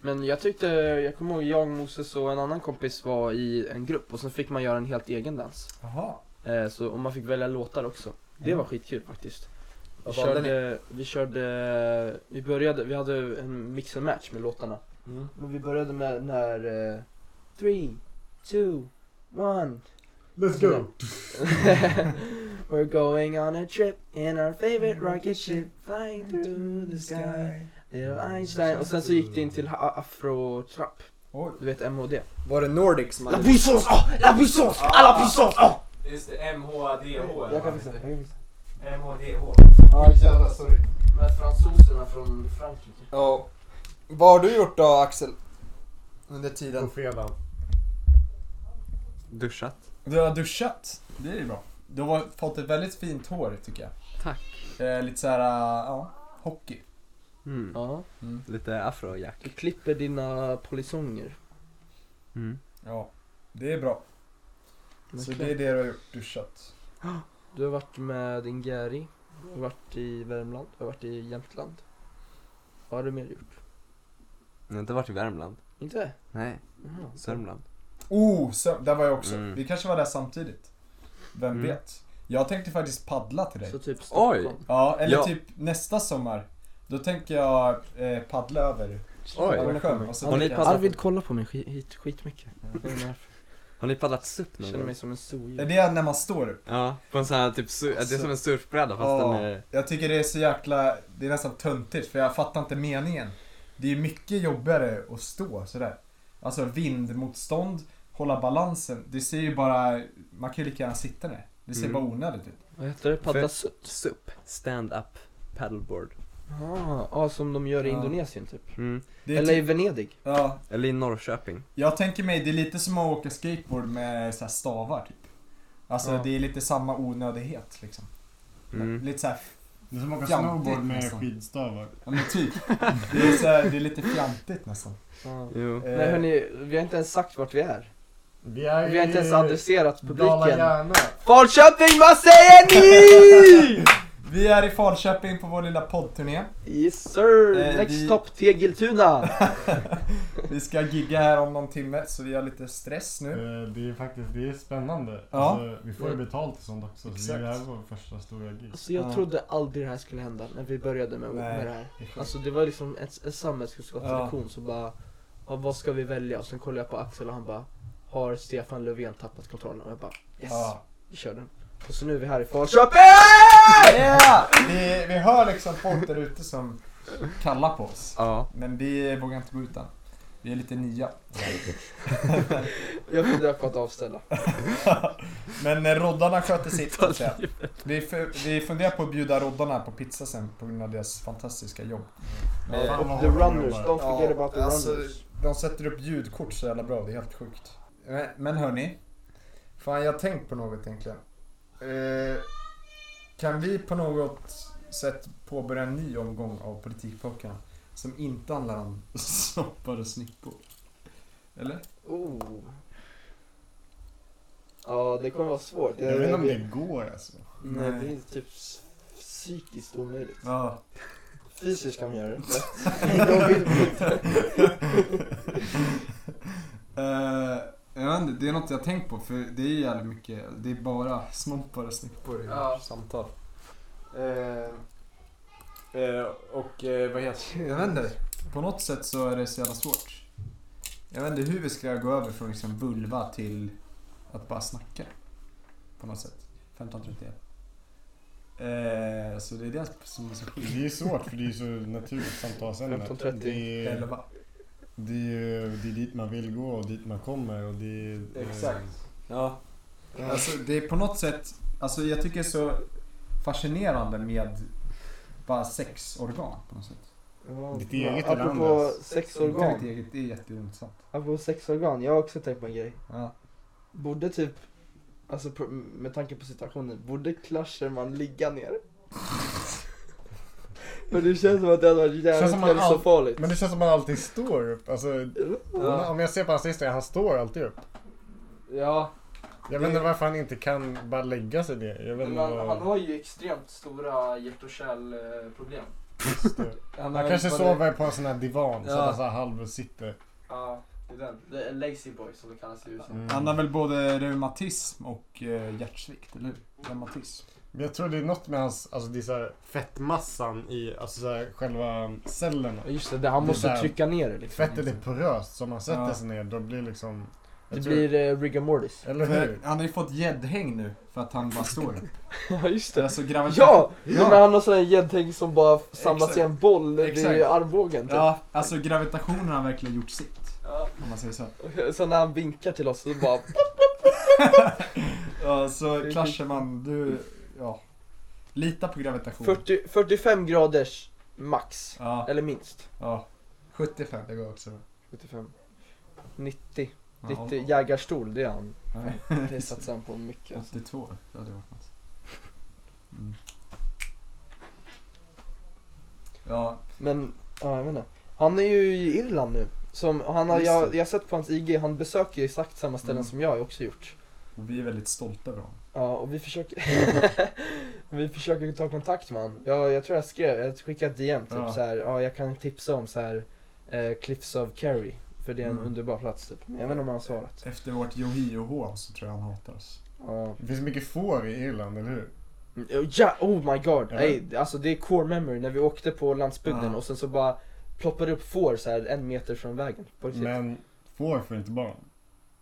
Men jag tyckte, jag kommer ihåg jag, Moses och en annan kompis var i en grupp och sen fick man göra en helt egen dans. Jaha. Eh, så, och man fick välja låtar också. Det var skitkul faktiskt. Vi Vad valde körde, vi körde, vi började, vi hade en mix and match med låtarna. Mm. Men vi började med den här... Eh, three, two, one. Let's go! We're going on a trip in our favorite rocket ship flying through the sky. Little Einstein. Och sen så gick det in till ha- afro-trap. Oj. Du vet MHD. Var det Nordic som hade... puissance! Oh, la puissance! Ah, la puissance! Oh. Just det, MHDH. Jag kan fixa, jag kan fixa. MHDH. Ja, Jävlar, sorry. Med fransoserna från Frankrike. Ja. Vad har du gjort då Axel? Under På tiden? fredag. Duschat. Du har duschat. Det är ju bra. Du har fått ett väldigt fint hår tycker jag. Tack. Eh, lite såhär, eh, ja, hockey. Mm. Ja. Lite afrojack. Du klipper dina polisonger. Mm. Ja, det är bra. Så det är det du har gjort, duschat. Du har varit med din Gary, du har varit i Värmland, du har varit i Jämtland. Vad har du mer gjort? Jag har inte varit i Värmland. Inte? Nej, Jaha. Sörmland. Oh, så, där var jag också. Mm. Vi kanske var där samtidigt. Vem Mm. vet? Jag tänkte faktiskt paddla till dig. Så typ Oj! Stockholm. Ja, eller Ja. typ nästa sommar. Då tänker jag eh, paddla över Oj! över sjön. Och så Har ni dricker jag- paddlat? Arvid kollar på mig skit, hit, skitmycket. Jag vet inte varför. Har ni paddlat SUP Jag någon känner gång? mig som en Det soja. är det när man står upp. Ja, på en sån här typ, sur- det är som en surfbräda fast Ja. den är... Jag tycker det är så jäkla, det är nästan töntigt för jag fattar inte meningen. Det är mycket jobbigare att stå sådär. Alltså vindmotstånd, hålla balansen. Det ser ju bara, man kan ju lika gärna sitta ner. Det ser Mm. bara onödigt ut. Vad heter det? Paddla sutt? SUP, stand up paddleboard. Ah, ah, som de gör i Ja. Indonesien typ. Mm. Det är Eller i typ- Venedig. ja, Eller i Norrköping. jag tänker mig, det är lite som att åka skateboard med så här stavar typ. Alltså Ja. det är lite samma onödighet liksom. Mm. Lite såhär, Det är som att åka Fjantigt snowboard med nästan. skidstavar. ja men typ. det, är så här, det är lite fjantigt nästan. Ah. Jo. Eh, Nej hörni, vi har inte ens sagt vart vi är. Vi är Vi har inte ens adresserat publiken. Dala-Järna. Falköping, vad säger ni? Vi är i Falköping på vår lilla poddturné. Yes sir! Eh, Next vi- stop Tegeltuna! Vi ska gigga här om någon timme så vi har lite stress nu. Eh, Det är faktiskt det är spännande. Mm. Ja. Mm. Alltså, vi får ju betalt och sånt också. Så det är Exakt. här vår första stora gig. Alltså jag Ja. trodde aldrig det här skulle hända när vi började med, Nej. med det här. Alltså det var liksom en, en samhällskunskapslektion så bara, ja, vad ska vi välja? Och sen kollade jag på Axel och han bara, har Stefan Löfven tappat kontrollen? Och jag bara, yes! Ja. Vi kör den. Och så nu är vi här i Falköping! Yeah! Vi, vi hör liksom folk där ute som kallar på oss. Ja. Men vi vågar inte gå ut än. Vi är lite nya. Jag funderar på att avställa. Men eh, roddarna sköter sitt. så att säga. Vi, fu- vi funderar på att bjuda roddarna på pizza sen på grund av deras fantastiska jobb. Ja, fan, vad The hårt de runners, jobbar. don't forget about the alltså, runners. De sätter upp ljudkort så jävla bra, det är helt sjukt. Men, men hörni. Fan, jag har tänkt på något egentligen. Eh, kan vi på något sätt påbörja en ny omgång av Politikpojkarna? Som inte handlar om snoppar och snippor. Eller? Oh. Ja det kommer vara svårt. Jag vet inte om det går alltså. Eh, Nej det Nej. är typ s- psykiskt omöjligt. Ja. Fysiskt kan man göra det. Jag vill inte. Eh, jag vet inte, det är något jag har tänkt på för det är ju jävligt mycket, det är bara snoppar och snippor i Ja. samtal. Eh, och eh, vad heter Jag vet inte. På något sätt så är det så jävla svårt. Jag vet inte hur vi ska gå över från liksom vulva till att bara snacka. På något sätt. 1531. Eh, så det är det som är så sjukt. Det är svårt för det är så naturligt samtalsämne. 15.30. Det är, Elva. det, är, ju- det är dit man vill gå och dit man kommer och det är... eh, Exakt. Ja. Alltså det är på något sätt, alltså jag tycker det är så fascinerande med bara sexorgan på något sätt. Ja, Ditt eget alltså. ja, eller Apropå andras? Det är mitt sexorgan. eget, det är jätteintressant. Apropå sexorgan, jag har också tänkt på en grej. Ja. Borde typ, alltså på- med tanke på situationen, borde Clasherman ligga ner? Men det känns som att det hade varit Känns jävligt som man all- hälsofarligt. Men det känns som att man alltid står upp. Alltså, Ja. Om jag ser på hans Instagram, han står alltid upp. ja. Jag vet inte varför han inte kan bara lägga sig ner. Jag Men vet inte han, han vad... har ju extremt stora hjärt och kärlproblem. Han kanske sover på en sån här divan så Ja. att han så här halv sitter. Ja, det är den. The Lazy Boy som det kallas i USA. Han har väl både reumatism och eh, hjärtsvikt, eller hur? Reumatism. Men jag tror det är något med hans, alltså det är så här fettmassan i, alltså så här själva cellerna. Ja, Just det, där, han Det måste där- trycka ner det liksom. Fettet är poröst, så om man sätter Ja. sig ner då blir liksom... jag Det tror- blir eh, rigor mortis. Eller För hur? han har ju fått gäddhäng nu för att han bara står upp. Ja just Det är Alltså gravitation. Ja! Men han har sån där gäddhäng som bara samlas Exakt. i en boll vid Exakt. armbågen typ. ja! Alltså gravitationen har verkligen gjort sitt. Ja. Om man säger så. Och Så när han vinkar till oss så bara... Ja, så klaschar man. Du, ja. Lita på gravitation. 40, 45 graders max. Ja, Eller minst. ja. 75, det går också. 75. 90. Ja, Ditt eh, jägarstol, det är han. nej, Det satsar han på mycket. alltså. 82, det hade varit något. Mm. Ja, Men, ja jag vet inte. Han är ju i Irland nu. Som, han har, Just jag, det. jag har sett på hans IG, han besöker ju exakt samma ställen Mm. som jag också gjort. och vi är väldigt stolta över honom. Ja, och vi försöker Vi försöker ta kontakt med honom. Jag, jag tror jag skrev, jag skickade ett DM typ Ja. så här, ja jag kan tipsa om så här eh, Cliffs of Kerry. För det är en Mm. underbar plats typ. Men Jag vet inte om han har svarat. Efter vårt Yohio-hån så tror jag han hatar oss. Ja. Det finns mycket får i Irland, eller hur? Ja, oh my god. Ja. Ey, alltså det är core memory när vi åkte på landsbygden Ja. och sen så bara ploppade upp får så här en meter från vägen. På riktigt. Men får får inte barn.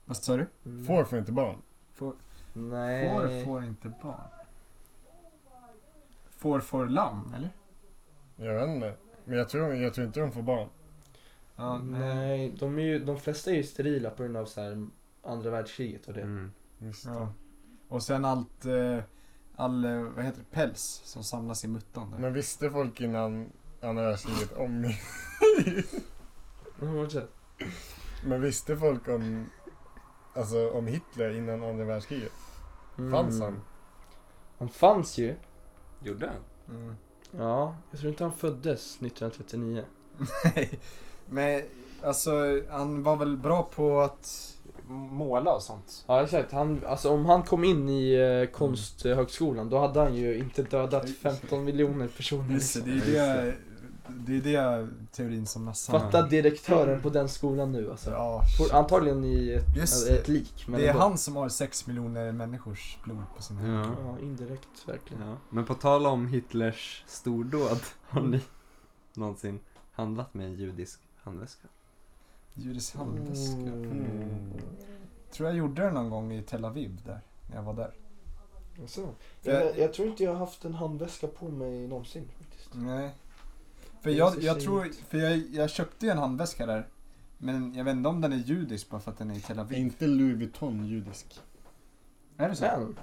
Vad sa du? Mm. Får får inte barn. Nej. Får får inte barn. Får får lamm, eller? Jag vet inte. Men jag tror, jag tror inte de får barn. Ja, Mm. Nej, de, är ju, de flesta är ju sterila på grund av så här andra världskriget och det. Mm. Visst. Ja. Och sen allt, eh, all, eh, vad heter det, päls som samlas i muttan där. Men visste folk innan andra världskriget om... Mm. fortsätt. Men visste folk om... Alltså om Hitler innan andra världskriget? Fanns han? mm. Han fanns ju. Gjorde han? Mm. Ja, jag tror inte han föddes 1939. Nej. Men alltså, han var väl bra på att måla och sånt. Ja exakt, han, alltså om han kom in i eh, konsthögskolan då hade han ju inte dödat 15 miljoner personer. Just det, Liksom. det är det, det, är det teorin som nästan... Fatta direktören på den skolan nu alltså. Ja, Får- shit. Antagligen i ett, Just ett lik. Men det är ändå. han som har sex miljoner människors blod på sin hand. Ja. Ja, indirekt verkligen. ja. Men på tal om Hitlers stordåd, har ni någonsin handlat med en judisk handväska? Judisk handväska. Mm. Tror jag gjorde det någon gång i Tel Aviv där, när jag var där. Alltså, Jag- jag, jag tror inte jag har haft en handväska på mig någonsin faktiskt. Nej. För Det är jag, så jag tror, fint. för jag, jag köpte ju en handväska där. Men jag vet inte om den är judisk bara för att den är i Tel Är Aviv. inte Louis Vuitton judisk? Är det så? Men,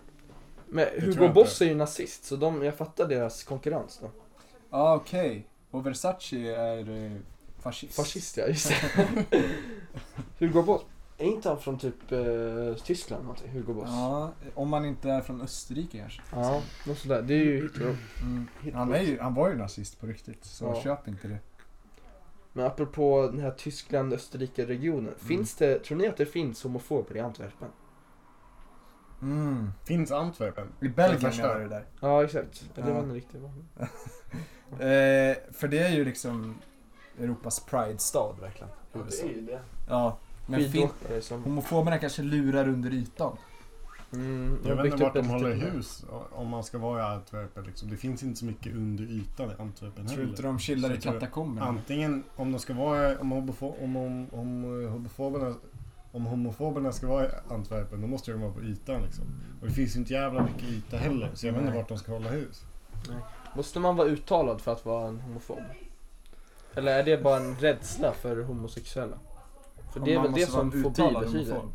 men tror Hugo jag Boss inte. är ju nazist så de, jag fattar deras konkurrens då. Ja, okej. Och Versace är eh, fascist. Fascist ja, just det. Hugo Boss. Är inte han från typ eh, Tyskland någonting? Hugo Boss? Ja, om man inte är från Österrike kanske. Ja, något sådär. Det är ju Hitler. Mm. Hitler. Han, är ju, han var ju nazist på riktigt, så Ja. köp inte det. Men apropå den här Tyskland-Österrike-regionen. Mm. Finns det, tror ni att det finns homofober i Antwerpen? Mm. Finns Antwerpen? I Belgien förstör. gör det där. Ja, exakt. Ja. Det Ja. var en riktig vanlig. Eh, för det är ju liksom Europas Pride-stad verkligen. Ja, det är ju det. Ja. Men fin- Skidåkare som... homofoberna kanske lurar under ytan. Mm, Jag vet inte byggt upp typ vart de ett håller litet- hus o- om man ska vara i Antwerpen. Liksom. Det finns inte så mycket under ytan i Antwerpen Tror inte heller. de chillar i Så tror jag- katakomberna? Antingen om de ska vara om, homofo- om, om, om, eh, homofoberna om homofoberna ska vara i Antwerpen då måste de vara på ytan liksom. Och det finns ju inte jävla mycket yta heller så jag vet inte Nej. vart de ska hålla hus. Måste man vara uttalad för att vara en homofob? Eller är det bara en rädsla för homosexuella? För Om det är man väl det måste vara som en fobi uttalad betyder? homofob.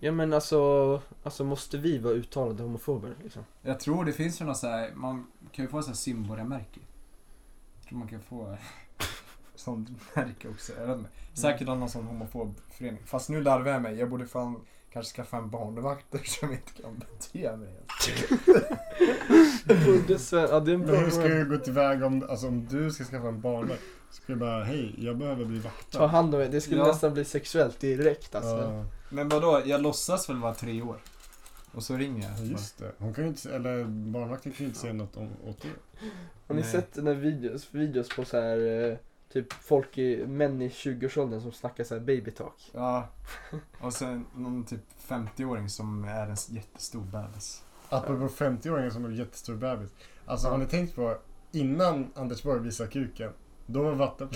Ja men alltså, alltså måste vi vara uttalade homofober liksom? Jag tror det finns ju något så här, man kan ju få så här simborgarmärke. Jag tror man kan få sånt märke också. Jag vet inte. Säkert av någon sån homofob förening. Fast nu larvar jag mig. Jag borde fan kanske skaffa en barnvakt eftersom jag inte kan bete mig. ja, det är en Men bra hur ska ska... du gå tillväga om, alltså, om du ska skaffa en barnvakt? Ska du bara hej jag behöver bli Ta vaktad. hand om det, det skulle Ja. nästan bli sexuellt direkt alltså. Ja, Men vadå, jag låtsas väl vara tre år? Och så ringer jag. just det. Hon kan ju inte, se- eller barnvakten kan ju inte säga något om, åt det. Har ni Nej. sett den här videos, videos på så här eh, typ folk i, män i 20-årsåldern som snackar så här baby talk? Ja. Och sen någon typ 50-åring som är en jättestor bebis. Apropå 50-åringar som har en jättestor bebis. Alltså har ni tänkt på innan Anders Borg visade kuken. Då var, vatten...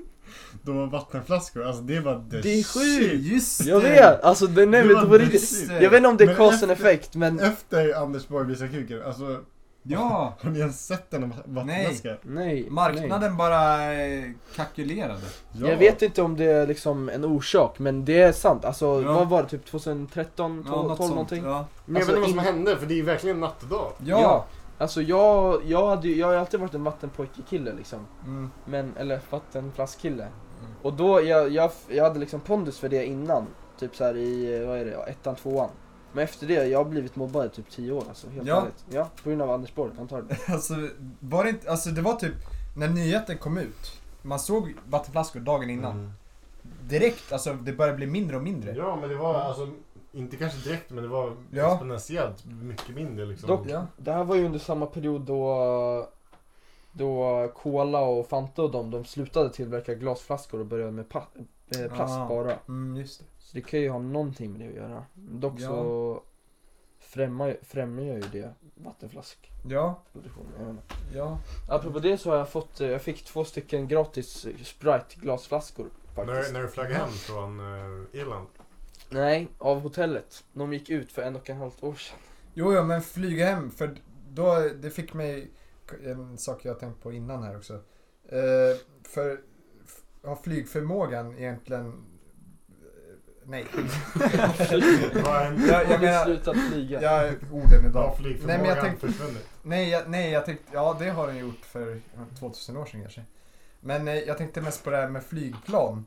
då var vattenflaskor, alltså det var the Det är sjukt! shit. Just Jag vet! Alltså den är Det väl var på riktigt. precis det. Jag vet inte om det är Men cause and efter- effect men... Efter Anders Borg visade kuken, alltså Ja! har ni ens sett en vattenflaska? Nej. Marknaden bara eh, kalkylerade. Nej. Jag vet inte om det är liksom en orsak, men det är sant. Alltså, Ja. vad var det? Typ 2013, 12, något 12 sånt, någonting? Ja. Men jag Alltså, vet inte vad som in- hände för det är verkligen natt och dag. Ja. ja. Alltså jag, jag, hade, ju- jag har ju alltid varit en vattenpojke-kille liksom. Mm. Men, eller vattenflaskkille. Och då, jag, jag, jag hade liksom pondus för det innan. Typ så här i, eh, vad är det, ja, ettan, tvåan. Men efter det, jag har blivit mobbad i typ 10 år alltså. Helt Ja. ärligt. Ja, på grund av Anders Borg antagligen. Alltså, var det inte, alltså det var typ när nyheten kom ut. Man såg vattenflaskor dagen innan. Direkt, alltså det började bli mindre och mindre. Mm. Ja men det var alltså, inte kanske direkt men det var Ja. exponentiellt mycket mindre liksom. Dock, Ja. Det här var ju under samma period då då Cola och Fanta och de, de slutade tillverka glasflaskor och började med pa- eh, plast Ah. bara. Mm, just det. Så det kan ju ha någonting med det att göra. Dock Ja. så främjar, främjar ju det vattenflask Ja, produktionen. Jag vet inte. ja. Apropå det så har jag fått, eh, jag fick två stycken gratis eh, Sprite glasflaskor När, faktiskt. när du flög hem från eh, Irland? Nej, av hotellet. De gick ut för en och en halv år sedan. Jo, ja, men flyga hem. För då, det fick mig en sak jag tänkt på innan här också. Eh, för f- har flygförmågan egentligen... eh, Nej. Var en jag, jag Har du menar, slutat flyga? jag, orden bra idag. Nej, men flygförmågan jag tänkte, försvunnit? nej, jag, nej, jag tänkte, ja det har den gjort för 2000 år sedan kanske. Men eh, jag tänkte mest på det här med flygplan.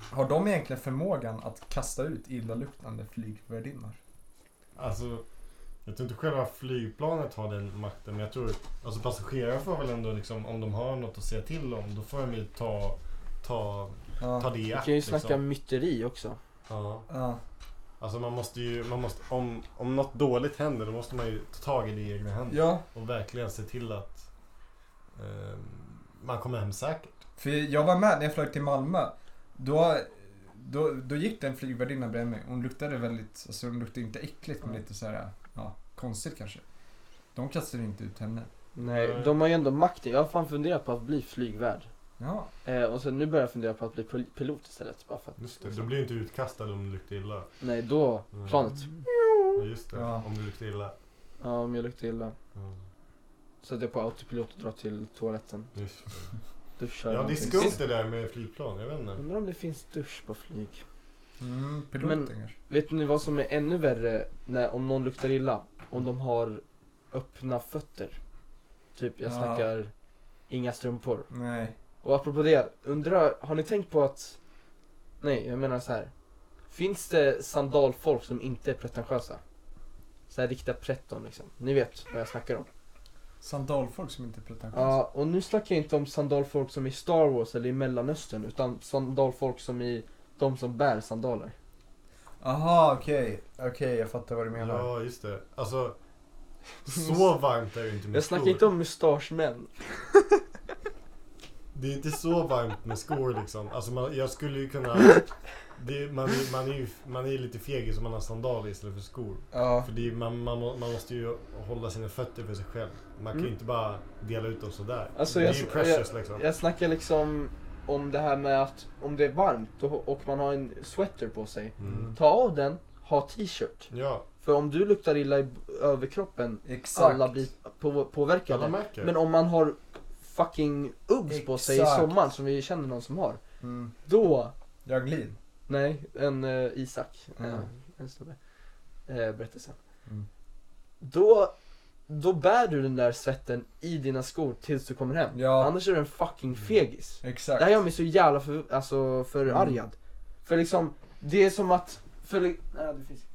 Har de egentligen förmågan att kasta ut illaluktande flygvärdinnor? Alltså, jag tror inte själva flygplanet har den makten, men jag tror alltså passagerare får väl ändå liksom, om de har något att säga till om, då får de ju ta, ta, Ja. ta det i Vi akt. kan ju snacka liksom. myteri också. ja. Ja. Alltså man måste ju, man måste, om, om något dåligt händer, då måste man ju ta tag i det i egna händer. ja. Och verkligen se till att eh, man kommer hem säkert. För jag var med när jag flög till Malmö. Då, då, då gick det en flygvärdinna bredvid mig. Hon luktade väldigt, alltså hon luktade inte äckligt men lite så här, ja, konstigt kanske. De kastade inte ut henne. Nej, de har ju ändå makten. Jag har fan funderat på att bli flygvärd. Ja, Eh, och sen nu börjar jag fundera på att bli pil- pilot istället. Bara för att, Just det, då blir du inte utkastad om du luktar illa. nej, då, Mm. planet. Ja, just det, Ja. om du luktar illa. Ja, om jag luktar illa. Mm. Sätter jag på autopilot och drar till toaletten. Just det. Duschar. Ja, det är någonting. skumt det där med flygplan, jag vet inte. Undrar om det finns dusch på flyg. mm, piloten Men- kanske. Vet ni vad som är ännu värre när, om någon luktar illa? Om de har öppna fötter. Typ, jag Ja. snackar inga strumpor. Nej. Och apropå det, undrar, har ni tänkt på att... Nej, jag menar så här. Finns det sandalfolk som inte är pretentiösa? Så här riktiga pretton liksom. Ni vet vad jag snackar om. Sandalfolk som inte är pretentiösa. Ja, och nu snackar jag inte om sandalfolk som i Star Wars eller i Mellanöstern, utan sandalfolk som i de som bär sandaler. Aha, okej. Okej, jag fattar vad du menar. Ja, just det. Alltså, så varmt är det inte med Jag snackar skor. inte om mustaschmän. Det är inte så varmt med skor liksom. Alltså, man, jag skulle ju kunna... Det, man, man är ju man är ju lite fegis om man har sandaler istället för skor. Ja. För det är, man, man, må- man måste ju hålla sina fötter för sig själv. Man kan ju Mm. inte bara dela ut dem sådär. Alltså, det är jag- ju precious liksom. Jag snackar liksom om det här med att om det är varmt och, och man har en sweater på sig, Mm. ta av den, ha t-shirt. Ja, För om du luktar illa i överkroppen, Exakt. alla blir på, påverkade. alla märker. Men om man har fucking Uggs på sig i Exakt. sommar, som vi känner någon som har, Mm. då Jag glid. Nej, en eh, Isak. Mm. Eh, en snubbe. Eh, berättelsen. Mm. Då, då bär du den där svetten i dina skor tills du kommer hem. Ja. Annars är du en fucking fegis. Exakt. Det här gör mig så jävla för, alltså, förargad. För liksom, det är som att... För, li- nej, det, finns.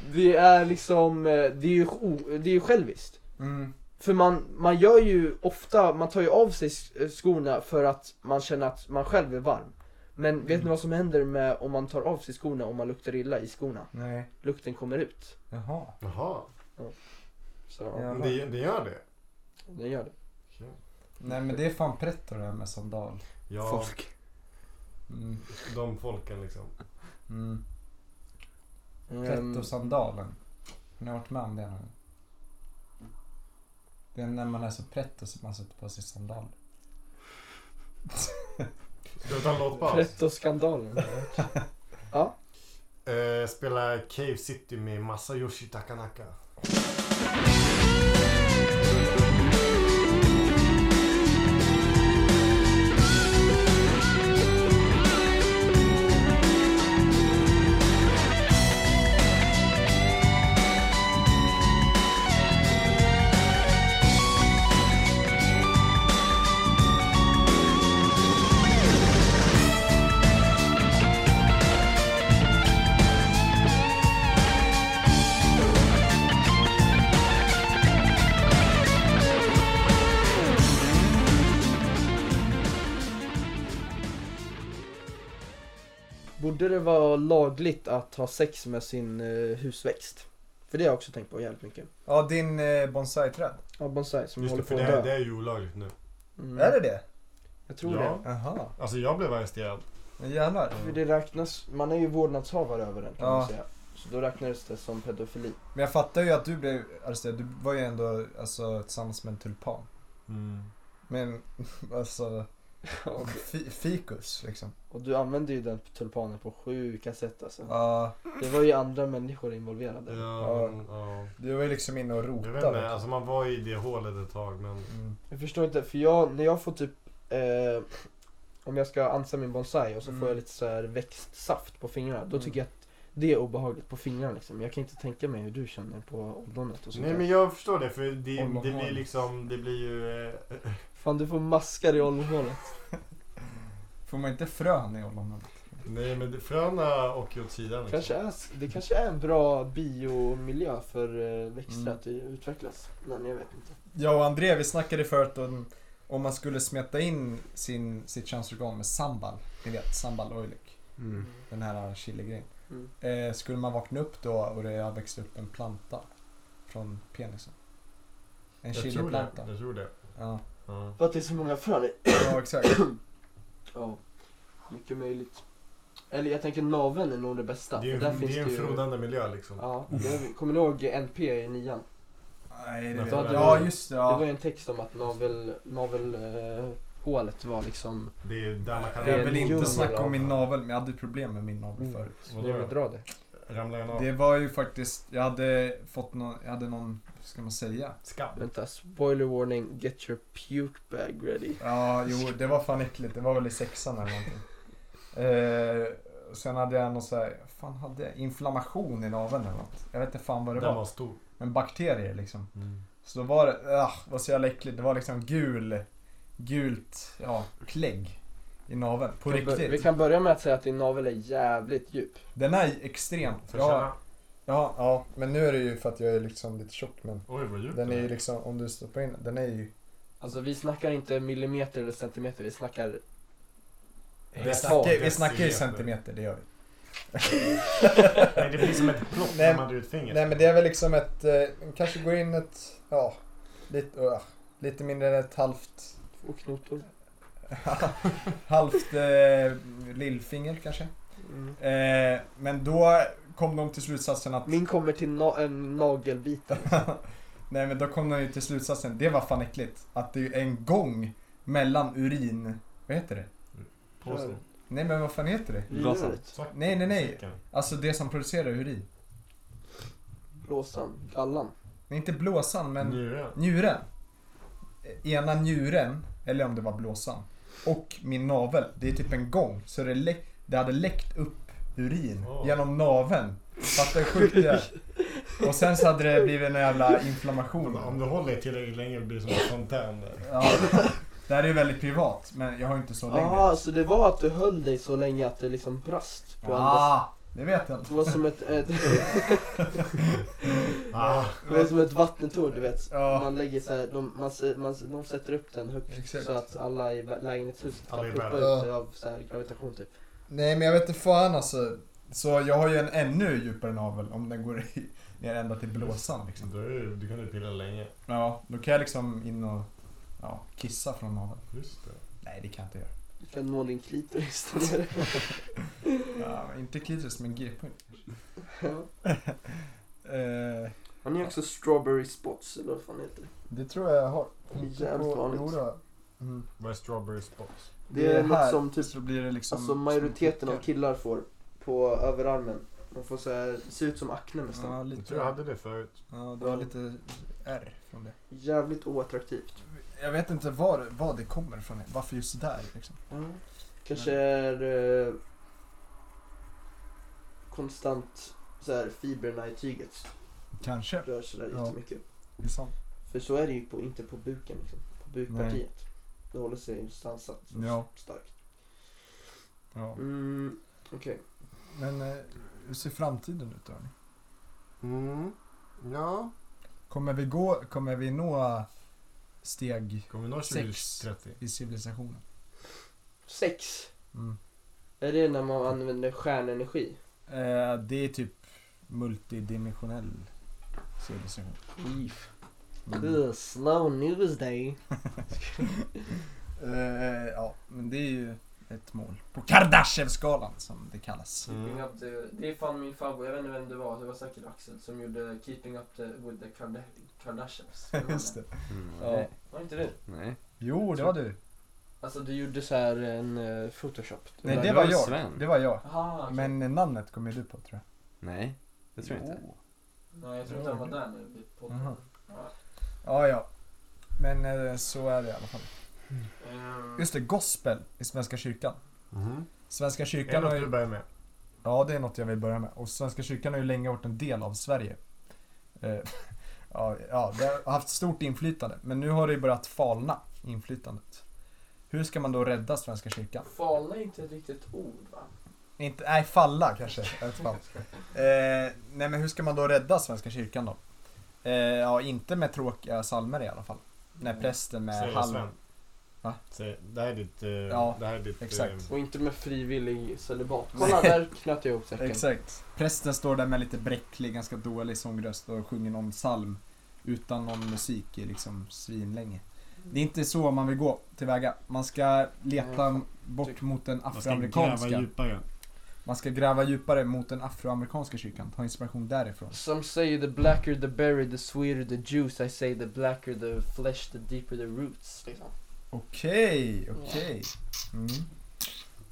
det är liksom, eh, det är ju, o, det är ju själviskt. Mm. För man, man gör ju ofta, man tar ju av sig s- eh, skorna för att man känner att man själv är varm. Men vet ni vad som händer med om man tar av sig skorna och man luktar illa i skorna? Nej. Lukten kommer ut. Jaha. Jaha, Så Jävlar. det, det gör det? den gör det. Okej. Nej men det är fan pretto det här med sandal. Ja, Folk. Mm. de folken liksom. Mm. Ehm, Pretto-sandalen. Har ni varit med om det någon gång? Det är när man är så pretto så man sätter på sig sandal. Ska vi ta en låtpaus? Pretto-skandalen. Eh, spelar Cave City med Masayoshi Takanaka. Borde det vara lagligt att ha sex med sin eh, husväxt? För det har jag också tänkt på jävligt mycket. Ja, din eh, bonsai-träd. Ja, bonsai som Just det, håller på för att det, här- dö. det är ju olagligt nu. Mm, Är det det? Jag tror ja. det. Jaha. Alltså jag blev arresterad. Men Jävlar. För det räknas, man är ju vårdnadshavare över den kan man Ja. säga. Så då räknades det som pedofili. Men jag fattar ju att du blev arresterad. Du var ju ändå alltså, tillsammans med en tulpan. Mm. Men alltså, fi- fikus liksom. Och du använde ju den tulpanen på sjuka sätt alltså. Ja, Det var ju andra människor involverade. Ja. Ja, men, ja. du var ju liksom inne och Jag rotade. vet inte, alltså man var i det hålet ett tag men... Mm. Jag förstår inte, för jag, när jag får typ eh, Om jag ska ansa min bonsai och så Mm. får jag lite så här växtsaft på fingrarna Då tycker jag att det är obehagligt på fingrarna liksom Jag kan inte tänka mig hur du känner på ollonet och sånt Nej där. men jag förstår det för det, Om man det har blir det. liksom, det blir ju... Eh, Fan du får maskar i ollonhålet Får man inte frön i ollonen? nej men det- fröna åker åt sidan liksom. kanske är, Det kanske är en bra biomiljö för eh, växter Mm. att utvecklas Men jag vet inte Jag och André vi snackade förut om, om man skulle smeta in sin, sitt könsorgan med sambal. Ni vet, sambal oilik. Mm. Den här chiligrejen. Mm. Eh, skulle man vakna upp då och det har växt upp en planta från penisen? En Jag tror det, Mm. chiliplanta. jag tror det. Ja, Ja. För att det är så många frön i ja exakt. Ja, mycket möjligt Eller jag tänker naveln är nog det bästa Det är ju för där en, finns det är en ju- frodande miljö liksom. Ja, jag kommer ni ihåg NP i nian? Nej, det Men vet då jag. hade Ja, du- just det. Det var Ja. ju en text om att navel, navel, eh, hålet var liksom... Det är där man kan... Det Jag är vill en inte djungel snacka av- om min navel, men jag hade problem med min Mm. navel förut. Nu vill Vadå? dra det. Ramlar den av? Det var ju faktiskt, jag hade fått någon, jag hade någon, vad ska man säga? Skam. Vänta, spoiler warning, get your puke bag ready. Ja, jo, det var fan äckligt. Det var väl i sexan eller någonting. Eh, sen hade jag någon så här, vad fan hade jag? Inflammation i naveln eller något. Jag vet inte fan vad det Den var. var stor. Men bakterier liksom. Mm. Så då var det, ah, vad så jävla äckligt. Det var liksom gul, gult, ja, klägg i naveln. På Vi kan bör- Vi riktigt. kan börja med att säga att din navel är jävligt djup. Den är extremt. Får jag Ja, känna? ja, ja, men nu är det ju för att jag är liksom lite tjock. Men Oj vad djupt den är det ju liksom, om du stoppar in den, den är ju Alltså vi snackar inte millimeter eller centimeter, vi snackar... Vi Decimeter. snackar, vi snackar ju centimeter, det gör vi. Nej, det blir som ett plock Nej, när man drar ut fingret. Nej men det är väl liksom ett, eh, kanske går in ett, ja, lite, uh, lite mindre än ett halvt, Och knotor. halvt eh, lillfinger kanske. Mm. Eh, men då kom de till slutsatsen att, Min kommer till na- en nagelbit. nej men då kom de ju till slutsatsen, det var fan äckligt, att det är en gång mellan urin, vad heter det? Påsen. Nej men vad fan heter det? Blåsan. Uret, Svack. Nej, nej, nej. Säcken. Alltså det som producerar urin. Blåsan, gallan. Nej, inte blåsan men Njure. Njuren. Ena njuren, eller om det var blåsan, och min navel. Det är typ en gång. Så det, lä- det hade läckt upp urin Åh. genom naveln. Fattar hur sjukt det är? Och sen så hade det blivit en jävla inflammation. Om du håller tillräckligt länge blir det som en fontän. där. Ja. Det här är ju väldigt privat, men jag har ju inte så länge. Jaha, Ah, så det var att du höll dig så länge att det liksom brast på andra sidan. Ah, det vet jag inte. Det var som ett, ett, Ah, det var som ett vattentorn du vet. Ja. Man lägger så här, de, man, se- man, de sätter upp den högt Exakt. så att alla i vä- lägenhetshuset kan Alla i pumpa världen. ut sig av så här gravitation typ. Nej, men jag vet inte fan alltså. Så jag har ju en ännu djupare navel om den går i, ner ända till blåsan liksom. då är det- Du kan ju pilla länge. Ja, då kan jag liksom in och ja, kissa från naveln. Just det. Nej, det kan jag inte göra. Du kan nå din klitoris där nere. Ja, inte klitoris, men g-punkt. Ja. Eh, Har ni också strawberry spots eller vad fan heter det? det tror jag jag har. Det är jävligt vanligt. jo då. Mm. Vad är strawberry spots? Det är något här, som typ, så blir det liksom... alltså majoriteten av som- killar får på överarmen. De får så här, se ut som akne nästan. Ja, Jag lite, tror jag hade det förut. ja, du har lite R från det. Jävligt oattraktivt. Jag vet inte var, vad det kommer från. Varför just där liksom. Kanske är eh, konstant så här, fibrerna i tyget Kanske. rör sig där Ja. jättemycket. Det är sant. För så är det ju på, inte på buken liksom. På bukpartiet. Det håller sig stansat så Ja. starkt. Ja. Mm, Okej. Men eh, hur ser framtiden ut då? hörni? Mm. Ja. Kommer vi, gå, kommer vi nå steg Kommer vi nå Sex. 2030? i civilisationen? Sex. Mm. Är det när man använder stjärnenergi? Eh, det är typ multidimensionell civilisation. Mm. Uh, slow news day. Eh, ja, men det är ju ett mål. På Kardashev-skalan som det kallas. Mm. Keeping Mm. up the, det är fan min favorit, jag vet inte vem det var, det var säkert Axel som gjorde Keeping up the, with the Karda- Kardashians. Det var Just det. Mm. Ja. Var inte du? Nej. Jo, det var du. Alltså du gjorde så här en eh, photoshop. Du Nej, bara- det var jag. Sven. Det var jag. Aha, Ah, okej. Men namnet kom ju du på tror jag. Nej, det tror jag inte. Nej, jag tror inte han var där när vi poddade. Aha. Ja. Ja, ja. Men eh, så är det i alla fall. Ehm, Just det, gospel i Svenska kyrkan. Svenska Är det kyrkan har något ju... du börjar med? Ja, det är något jag vill börja med. Och Svenska kyrkan har ju länge varit en del av Sverige. Eh, ja, ja, det har haft stort inflytande. Men nu har det ju börjat falna, inflytandet. Hur ska man då rädda Svenska kyrkan? Falna är inte ett riktigt ord va? Inte, nej, falla kanske. Jag vet fan. Eh, nej, men hur ska man då rädda Svenska kyrkan då? Eh, ja, inte med tråkiga psalmer i alla fall. När prästen med Säger halm... Sven. Va? Säger- Det här är ditt... eh, Ja, det här är ditt... eh, exakt. Och inte med frivillig celibat. Kolla där knöt jag ihop säcken. Exakt. Prästen står där med lite bräcklig, ganska dålig sångröst och sjunger någon psalm utan någon musik i liksom svinlänge. Det är inte så man vill gå tillväga. Man ska leta Nej, bort mot den Man ska gräva afroamerikanska. djupare. Man ska gräva djupare mot den afroamerikanska kyrkan. Ta inspiration därifrån. Some say the blacker the berry the sweeter the juice. I say the blacker the flesh the deeper the roots. Eh. Liksom. Okej, okej. Mm.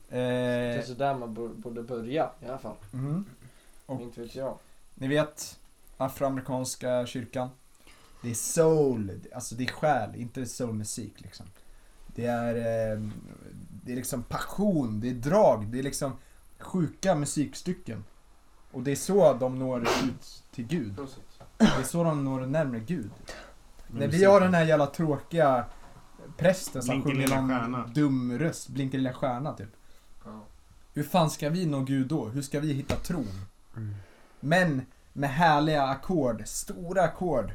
Det är Eh, så där man bör- borde börja i alla fall. mm. Och- Inte vet jag. Ni vet, afroamerikanska kyrkan. Det är soul, alltså det är själ, inte soulmusik liksom. Det är, eh, det är liksom passion, det är drag, det är liksom sjuka musikstycken. Och det är så de når ut till Gud. Prosit. Det är så de når närmare Gud. Men När vi musiken- har den här jävla tråkiga prästen som Blinker sjunger lilla någon stjärna. dum röst, blinkar lilla stjärna typ. Ja. Hur fan ska vi nå Gud då? Hur ska vi hitta tron? Men med härliga ackord, stora ackord,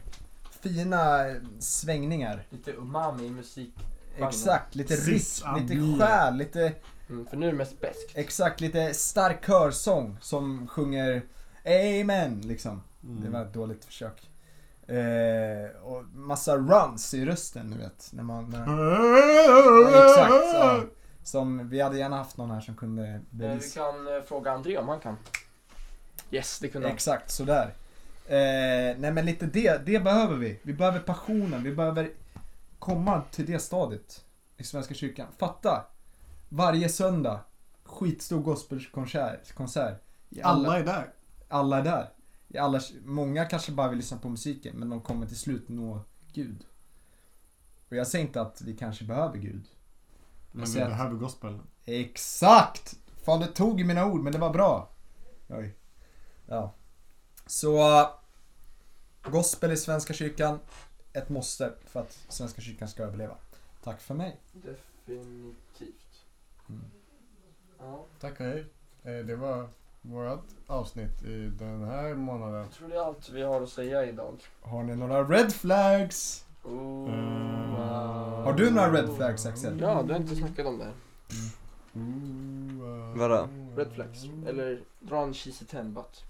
fina eh, svängningar. Lite umami i musik. Exakt, lite Sis, rytm, lite amir. själ, lite, Mm, för nu är det mest beskt. Eh, exakt, lite stark körsång som sjunger Amen liksom. Det var ett dåligt försök. Eh, och massa runs i rösten, du vet. När man, Mm. när, Ja, exakt, ja. Som, vi hade gärna haft någon här som kunde Eh, Vi bevisa. kan eh, fråga André om han kan. Yes, det kunde han. Exakt, sådär. Eh, nej men lite det, det behöver vi. Vi behöver passionen, vi behöver komma till det stadiet i Svenska kyrkan. Fatta! Varje söndag, skitstor gospelkonsert. Konsert. I Alla Alla, är där. alla är där. I alla, många kanske bara vill lyssna på musiken men de kommer till slut nå Gud. Och jag säger inte att vi kanske behöver Gud. Men vi ser att- behöver gospel. Exakt! Fan, du tog i mina ord, men det var bra. Oj. Ja. Så... äh, Gospel i Svenska kyrkan. Ett måste för att Svenska kyrkan ska överleva. Tack för mig. Definitivt. Mm. Ja, Tack och hej. Eh, Det var vårt avsnitt i den här månaden. jag tror det är allt vi har att säga idag. Har ni några red flags? Oh, Mm. wow. Har du några red flags, Axel? Ja, du har inte snackat om det här. Vadå? Red flags. Eller dra en cheesy ten but.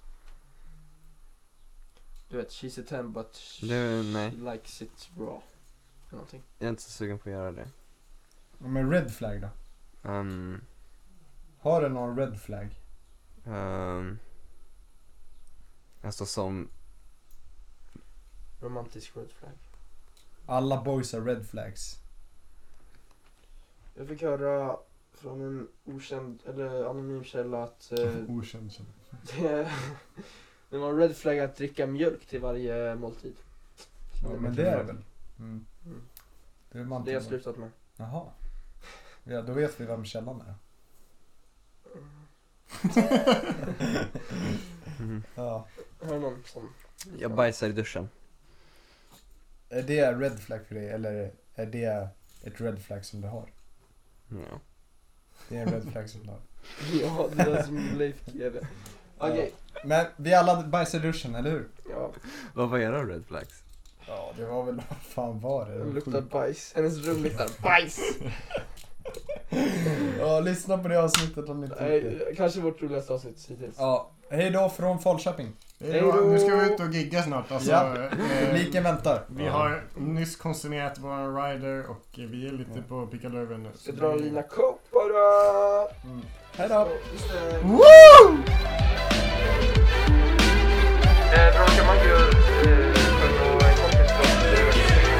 Du vet, cheesy ten but she Du, nej. likes it raw. Eller någonting. Jag är inte så sugen på att göra det. Men red flag då? Um, Har du någon red flag? um, alltså som, Romantisk red flag. Alla boys har red flags. Jag fick höra från en okänd, eller anonym källa att eh, Okänd källa. det, det var en red flag att dricka mjölk till varje måltid. Ja, men det är det väl? Mm. Mm. Det är man Det har jag inte- slutat med. Jaha. Ja, då vet vi vem källan är. Mhm. Ja. Har du någon som... jag bajsar i duschen. Är det red flag för dig eller är det ett red flag som du har? Ja. Det är en red flag som du har. Ja, det där som Leif GW. Okej, Men vi alla bajsar i duschen, eller hur? ja. Vad var era red flags? Ja, det var väl vad fan var det? Hon luktar bajs. Hennes rum luktar bajs. Ja, lyssna på det avsnittet om ni inte Nej, kanske vårt roligaste avsnitt hittills. Ja, Hej då från Falköping. Hej då. Nu ska vi ut och gigga snart. Alltså, Ja. eh, Liken väntar. vi har nyss konsumerat vår rider och vi är lite på pickalurven nu. Ska dra en lina coke bara. Hej Eh, då. Bråkar man ju eh, för några kompis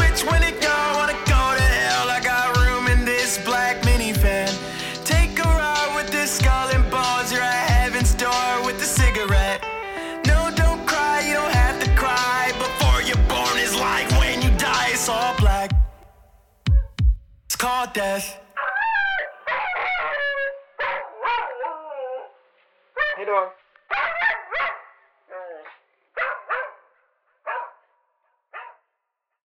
Which one of y'all wanna go to hell? I got room in this black minivan. Take a ride with the skull and bones. You're at heaven's door with a cigarette. No, don't cry, you don't have to cry. Before you're born is like when you die, it's all black. It's called death. Hejdå!